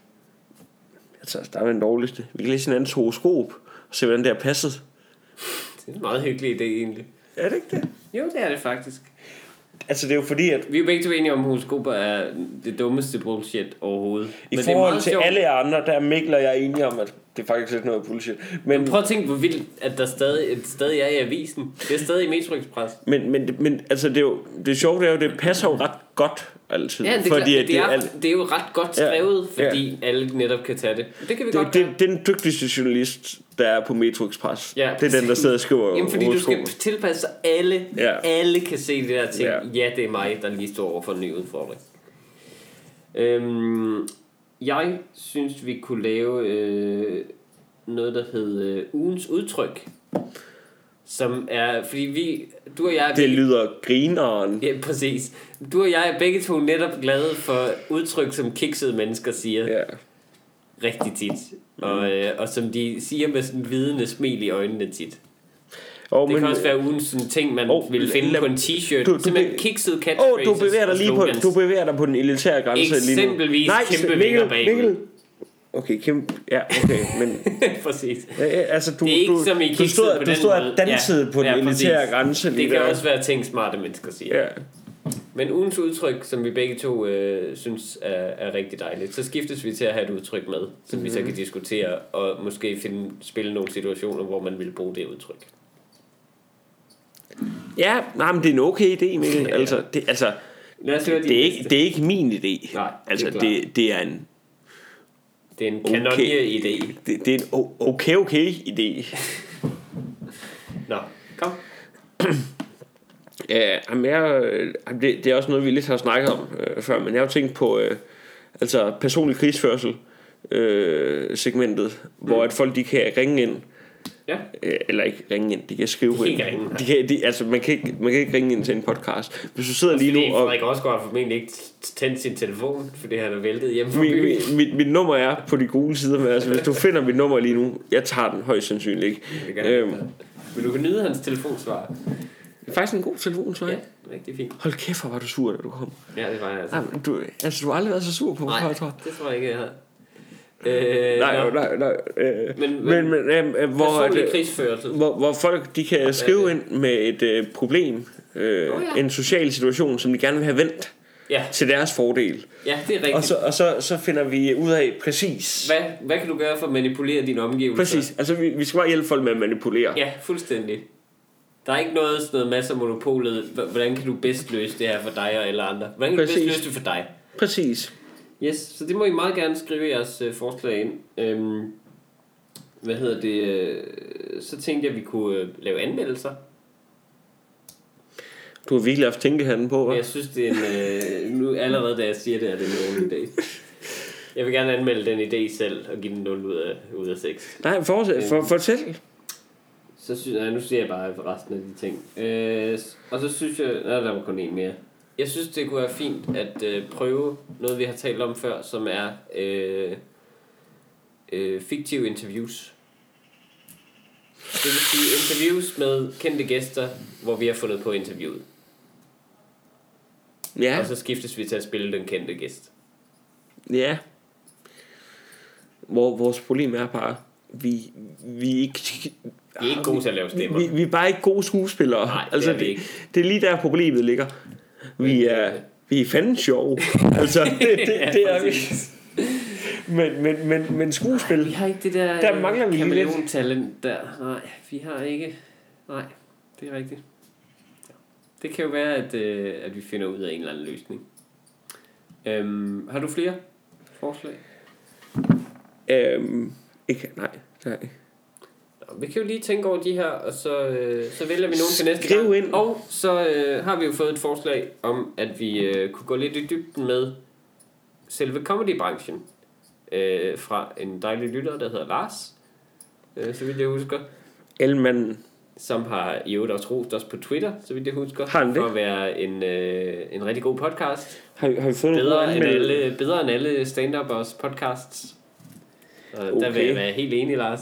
Speaker 2: Altså, Jeg tager starte med den dårligste. Vi kan læse hinandens horoskop og se, hvordan det er passet.
Speaker 1: Det er en meget hyggelig idé egentlig.
Speaker 2: Er det ikke det?
Speaker 1: Jo, det er det faktisk.
Speaker 2: Altså, det er jo fordi, at
Speaker 1: Vi er begge to enige om, at horoskoper er det dummeste bullshit overhovedet.
Speaker 2: i
Speaker 1: Men det er
Speaker 2: forhold
Speaker 1: meget
Speaker 2: til
Speaker 1: sjovt.
Speaker 2: alle jer andre, der er Mikkel og jeg er enige om, at det er faktisk ikke noget bullshit. Men,
Speaker 1: Prøv at tænke, hvor vildt, at der stadig, at det stadig er i avisen. Det er stadig i Metro Express.
Speaker 2: men, men, men altså, det er jo det sjove, det er jo, det passer jo ret godt altid.
Speaker 1: Ja, det, er,
Speaker 2: fordi,
Speaker 1: fordi,
Speaker 2: at
Speaker 1: det, er,
Speaker 2: alt-
Speaker 1: det, er, det er jo ret godt
Speaker 2: Ja,
Speaker 1: skrevet,
Speaker 2: ja.
Speaker 1: ja, fordi ja. alle netop kan tage det. Det kan vi det,
Speaker 2: det,
Speaker 1: godt gøre.
Speaker 2: det, det er den dygtigste journalist, der er på Metro Express.
Speaker 1: Ja,
Speaker 2: det er den, der sidder og skriver
Speaker 1: Jamen, fordi du skal
Speaker 2: horoskoper.
Speaker 1: tilpasse, så alle,
Speaker 2: Ja.
Speaker 1: ja. alle kan se det der ting.
Speaker 2: Ja.
Speaker 1: Ja. ja, det er mig, der lige står over for en ny udfordring. Øhm, jeg synes, vi kunne lave øh, noget, der hedder øh, ugens udtryk. Som er, fordi vi, du og jeg er
Speaker 2: Det lyder grineren.
Speaker 1: Ja, præcis. Du og jeg er begge to netop glade for udtryk, som kiksede mennesker siger.
Speaker 2: Ja.
Speaker 1: rigtig tit.
Speaker 2: Mm.
Speaker 1: Og, øh, og som de siger med sådan vidende smil i øjnene tit.
Speaker 2: Og,
Speaker 1: Det men, kan også være ugen sådan ting, man
Speaker 2: Åh,
Speaker 1: oh, vil finde
Speaker 2: lad-
Speaker 1: på en t-shirt.
Speaker 2: du- du
Speaker 1: Du, Simpelthen
Speaker 2: be-
Speaker 1: kikset
Speaker 2: Åh,
Speaker 1: catchphrases
Speaker 2: oh, du bevæger dig
Speaker 1: og
Speaker 2: lige på,
Speaker 1: slogans.
Speaker 2: du bevæger dig på den elitære grænse lige nu.
Speaker 1: Eksempelvis kæmpe vinger bagud.
Speaker 2: Okay, kæmpe, ja, okay, men
Speaker 1: præcis.
Speaker 2: øh, øh, altså, du,
Speaker 1: Det er ikke
Speaker 2: du,
Speaker 1: som i
Speaker 2: du
Speaker 1: kikset
Speaker 2: stod,
Speaker 1: på
Speaker 2: du
Speaker 1: den
Speaker 2: stod
Speaker 1: måde.
Speaker 2: og dansede
Speaker 1: Ja,
Speaker 2: på den
Speaker 1: ja, præcis.
Speaker 2: elitære grænse lige
Speaker 1: Det kan
Speaker 2: der.
Speaker 1: også være ting, smarte mennesker siger.
Speaker 2: Ja.
Speaker 1: Men ugens udtryk, som vi begge to øh, synes er, er rigtig dejligt, så skiftes vi til at have et udtryk med, som mm-hmm.
Speaker 2: Mm.
Speaker 1: vi så kan diskutere, og måske finde, spille nogle situationer, hvor man vil bruge det udtryk.
Speaker 2: ja, nej, men det er en okay idé, Mikkel. Altså, det, altså,
Speaker 1: Lad os høre din
Speaker 2: det, er ikke,
Speaker 1: næste.
Speaker 2: det er ikke min idé.
Speaker 1: Nej, det er
Speaker 2: altså,
Speaker 1: klart.
Speaker 2: det, det er en
Speaker 1: det er en
Speaker 2: okay,
Speaker 1: kanonje-idé.
Speaker 2: Det, det er en o- okay, okay idé.
Speaker 1: Nå, kom.
Speaker 2: Ja, jamen jeg, øh, jamen det, det er også noget, vi lidt har snakket om øh, før, men jeg har jo tænkt på øh, altså personlig krigsførsel øh, segmentet, mm. hvor at folk de kan ringe ind,
Speaker 1: Ja.
Speaker 2: øh, eller ikke ringe ind, de kan skrive
Speaker 1: De kan
Speaker 2: ind.
Speaker 1: ikke ringe, nej.
Speaker 2: de kan, de, altså, man, kan ikke, man kan ikke ringe ind til en podcast. Hvis du sidder lige
Speaker 1: Fordi
Speaker 2: nu og...
Speaker 1: Frederik Osgaard har formentlig ikke tændt sin telefon, fordi han er væltet hjemme fra
Speaker 2: Mit,
Speaker 1: byen.
Speaker 2: mit, mit, mit nummer er på de gule sider, men altså, hvis du finder mit nummer lige nu, jeg tager den højst sandsynligt ikke.
Speaker 1: Det kan han
Speaker 2: Øhm,
Speaker 1: ikke. Men du kan nyde hans telefonsvar.
Speaker 2: det er faktisk en god telefon, så
Speaker 1: Ja,
Speaker 2: jeg.
Speaker 1: rigtig fint.
Speaker 2: Hold kæft, hvor var du sur, da du kom.
Speaker 1: Ja, det var jeg altså.
Speaker 2: Nej, men du, altså, du har aldrig været så sur på mig, før,
Speaker 1: Nej,
Speaker 2: tror jeg.
Speaker 1: det tror jeg ikke, jeg havde. Øh,
Speaker 2: Nej,
Speaker 1: nå,
Speaker 2: jo, nej, nej. Øh, men
Speaker 1: Men-
Speaker 2: men, men øh, øh, hvor, at,
Speaker 1: Personlig
Speaker 2: øh,
Speaker 1: krigsførelse.
Speaker 2: hvor, hvor folk de kan skrive ind med et øh, problem, øh,
Speaker 1: Nå, ja.
Speaker 2: en social situation, som de gerne vil have vendt
Speaker 1: Ja,
Speaker 2: til deres fordel.
Speaker 1: ja, det er
Speaker 2: Og
Speaker 1: rigtigt.
Speaker 2: så, og så, så finder vi ud af præcis.
Speaker 1: Hvad, hvad kan du gøre for at manipulere dine omgivelser?
Speaker 2: Præcis. Altså, vi, vi skal bare hjælpe folk med at manipulere.
Speaker 1: Ja, fuldstændig. Der er ikke noget sådan noget masser af monopolet. H- Hvordan kan du bedst løse det her for dig og alle andre? Hvordan kan du
Speaker 2: Præcis.
Speaker 1: bedst løse det for dig?
Speaker 2: Præcis.
Speaker 1: Yes, så det må I meget gerne skrive jeres øh, forslag ind. Øhm, hvad hedder det? Øh, så tænkte jeg, at vi kunne øh, lave anmeldelser.
Speaker 2: Du har virkelig haft tænkehanden på,
Speaker 1: Men
Speaker 2: hva'?
Speaker 1: jeg synes, det er en... Øh, nu allerede, da jeg siger det, er det en dårlig idé. Jeg vil gerne anmelde den idé selv og give den 0 ud af, ud af 6.
Speaker 2: Nej, fortsæt,
Speaker 1: Øhm.
Speaker 2: for, fortæl.
Speaker 1: Så synes jeg, nu siger jeg bare resten af de ting. Øh, s- og så synes jeg, nej, der var kun en mere. Jeg synes, det kunne være fint at øh, prøve noget, vi har talt om før, som er øh, øh, fiktive interviews. Det vil sige interviews med kendte gæster, hvor vi har fundet på interviewet. Ja.
Speaker 2: Ja,
Speaker 1: Og så skiftes vi til at spille den kendte gæst.
Speaker 2: ja. Hvor vores problem er bare, vi, vi er ikke
Speaker 1: Vi er ikke gode til at lave stemmer.
Speaker 2: Ah, Vi, vi er bare ikke gode skuespillere. Altså,
Speaker 1: Nej, det er vi ikke. øh,
Speaker 2: det er lige der problemet ligger. Vi er, vi er fanden sjove. altså, det, det, det er vi. Men, men, men, men
Speaker 1: Vi
Speaker 2: skuespil,
Speaker 1: har ikke det der,
Speaker 2: Der mangler vi lige lidt.
Speaker 1: talent der. Nej, vi har ikke. Nej, det er rigtigt. Det kan jo være, at, øh, at vi finder ud af en eller anden løsning. Øhm, har du flere forslag?
Speaker 2: øhm, ikke, nej, nej.
Speaker 1: Vi kan jo lige tænke over de her, og så, øh, så vælger vi nogen til næste
Speaker 2: Skriv
Speaker 1: gang.
Speaker 2: ind.
Speaker 1: Og så øh, har vi jo fået et forslag om, at vi øh, kunne gå lidt i dybden med selve comedybranchen. Øh, fra en dejlig lytter, der hedder Lars, øh, så vidt jeg husker.
Speaker 2: Elmanden.
Speaker 1: Som har i øvrigt også rost os på Twitter, så vidt jeg husker.
Speaker 2: Har han det?
Speaker 1: For at være en, øh, en rigtig god podcast.
Speaker 2: Har, har vi fået nogle
Speaker 1: Bedre, end
Speaker 2: anmeldelser?
Speaker 1: alle, bedre end alle stand-uppers podcasts. Og okay. der vil
Speaker 2: Okay.
Speaker 1: jeg være helt enig, Lars.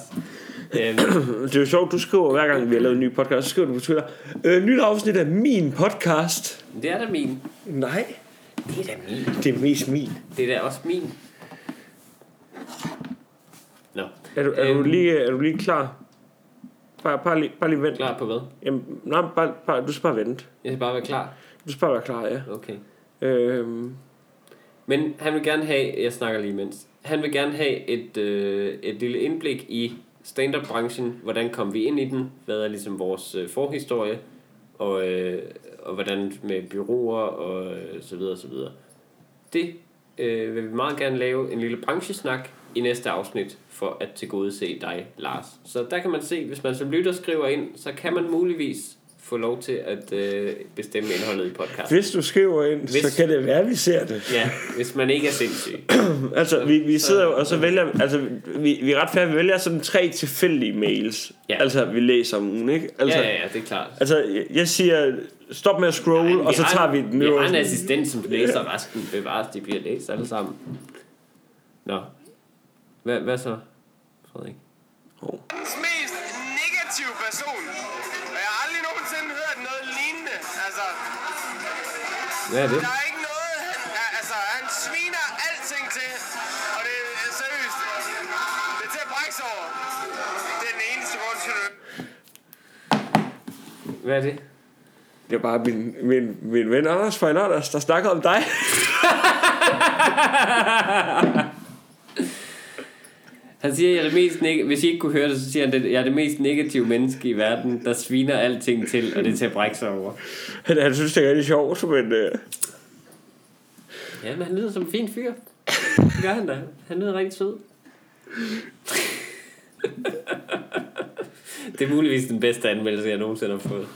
Speaker 1: Øhm,
Speaker 2: Det er jo sjovt, du skriver hver gang vi har lavet en ny podcast, så skriver du på Twitter, øh, nyt afsnit af min podcast.
Speaker 1: det er da min.
Speaker 2: Nej,
Speaker 1: Det er da min.
Speaker 2: det er mest min.
Speaker 1: Det er da også min. Nå.
Speaker 2: Er du, er du,
Speaker 1: Øhm.
Speaker 2: lige, er du lige klar? Bare, bare, lige, bare lige vent.
Speaker 1: Klar på hvad?
Speaker 2: Jamen, nej, bare, bare, du skal bare vente.
Speaker 1: Jeg skal bare være klar.
Speaker 2: Du skal bare være klar, ja.
Speaker 1: Okay.
Speaker 2: Øhm,
Speaker 1: Men han vil gerne have, jeg snakker lige mens, han vil gerne have et, øh, et lille indblik i stand-up-branchen, hvordan kom vi ind i den, hvad er ligesom vores øh, forhistorie, og, øh, og hvordan med byråer og øh, så videre, så videre. Det øh, vil vi meget gerne lave en lille branchesnak i næste afsnit, for at tilgodese dig, Lars. Så der kan man se, hvis man som lytter skriver ind, så kan man muligvis få lov til at øh, bestemme indholdet i podcasten.
Speaker 2: hvis du skriver ind, Hvis...
Speaker 1: Hvis-
Speaker 2: så kan det være, vi ser det.
Speaker 1: Ja, hvis man ikke er sindssyg.
Speaker 2: Altså, vi, vi
Speaker 1: så-
Speaker 2: sidder jo, og så vælger, altså, vi, vi er ret færdige, vi vælger sådan tre tilfældige mails,
Speaker 1: Ja.
Speaker 2: altså, vi læser om ugen, ikke? Altså,
Speaker 1: Ja, ja, ja, det er klart.
Speaker 2: altså, jeg- jeg siger, stop med at scrolle,
Speaker 1: Ej,
Speaker 2: Ej,
Speaker 1: men
Speaker 2: og så
Speaker 1: har
Speaker 2: tager
Speaker 1: en-
Speaker 2: vi den
Speaker 1: Vi har en
Speaker 2: øverste.
Speaker 1: assistent, som læser resten. Bevares, de bliver læst alle sammen. Nå. Hvad, hvad så, Frederik?
Speaker 3: mest negative person. Og jeg har aldrig nogensinde hørt noget lignende. Altså,
Speaker 1: Hvad er det?
Speaker 3: der er ikke noget... Han, ja, altså, han sviner alting til. Og det er seriøst. Det er til at brække sig over. Det er den eneste grund til det.
Speaker 1: Hvad er det?
Speaker 2: Det er bare min, min, min ven Anders fra Anders, der snakker om dig.
Speaker 1: Han siger, at jeg er det mest neg- hvis I ikke kunne høre det, så siger han, at jeg er det mest negative menneske i verden, der sviner alting til, og det er til at brække sig over.
Speaker 2: Han, han synes, det er rigtig sjovt, men... Øh,
Speaker 1: Ja, men han lyder som en fin fyr. Det gør han da. Han lyder rigtig sød. det er muligvis den bedste anmeldelse, jeg nogensinde har fået.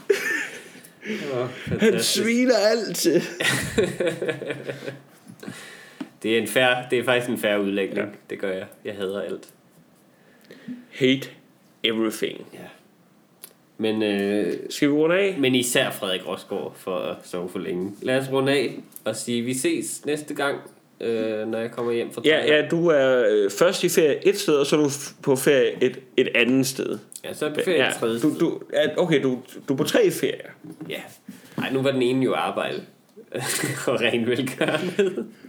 Speaker 1: Det var
Speaker 2: han
Speaker 1: fantastisk.
Speaker 2: sviner altid.
Speaker 1: Det er, en fair, det er faktisk en færre udlægning. Ja. Det gør jeg. Jeg hader alt.
Speaker 2: Hate everything.
Speaker 1: Ja. Men, øh,
Speaker 2: Skal vi runde af?
Speaker 1: men især Frederik Rosgaard for at sove for længe. Lad os runde af og sige, vi ses næste gang, øh, når jeg kommer hjem fra
Speaker 2: Ja,
Speaker 1: Thailand.
Speaker 2: ja, du er øh, først i ferie et sted, og så er du f- på ferie et, et andet sted.
Speaker 1: ja, så er det ferie
Speaker 2: ja,
Speaker 1: tredje
Speaker 2: du, du, ja, okay, du, du er på tre ferier.
Speaker 1: Ja. Ej, nu var den ene jo arbejde. og ren velgørenhed.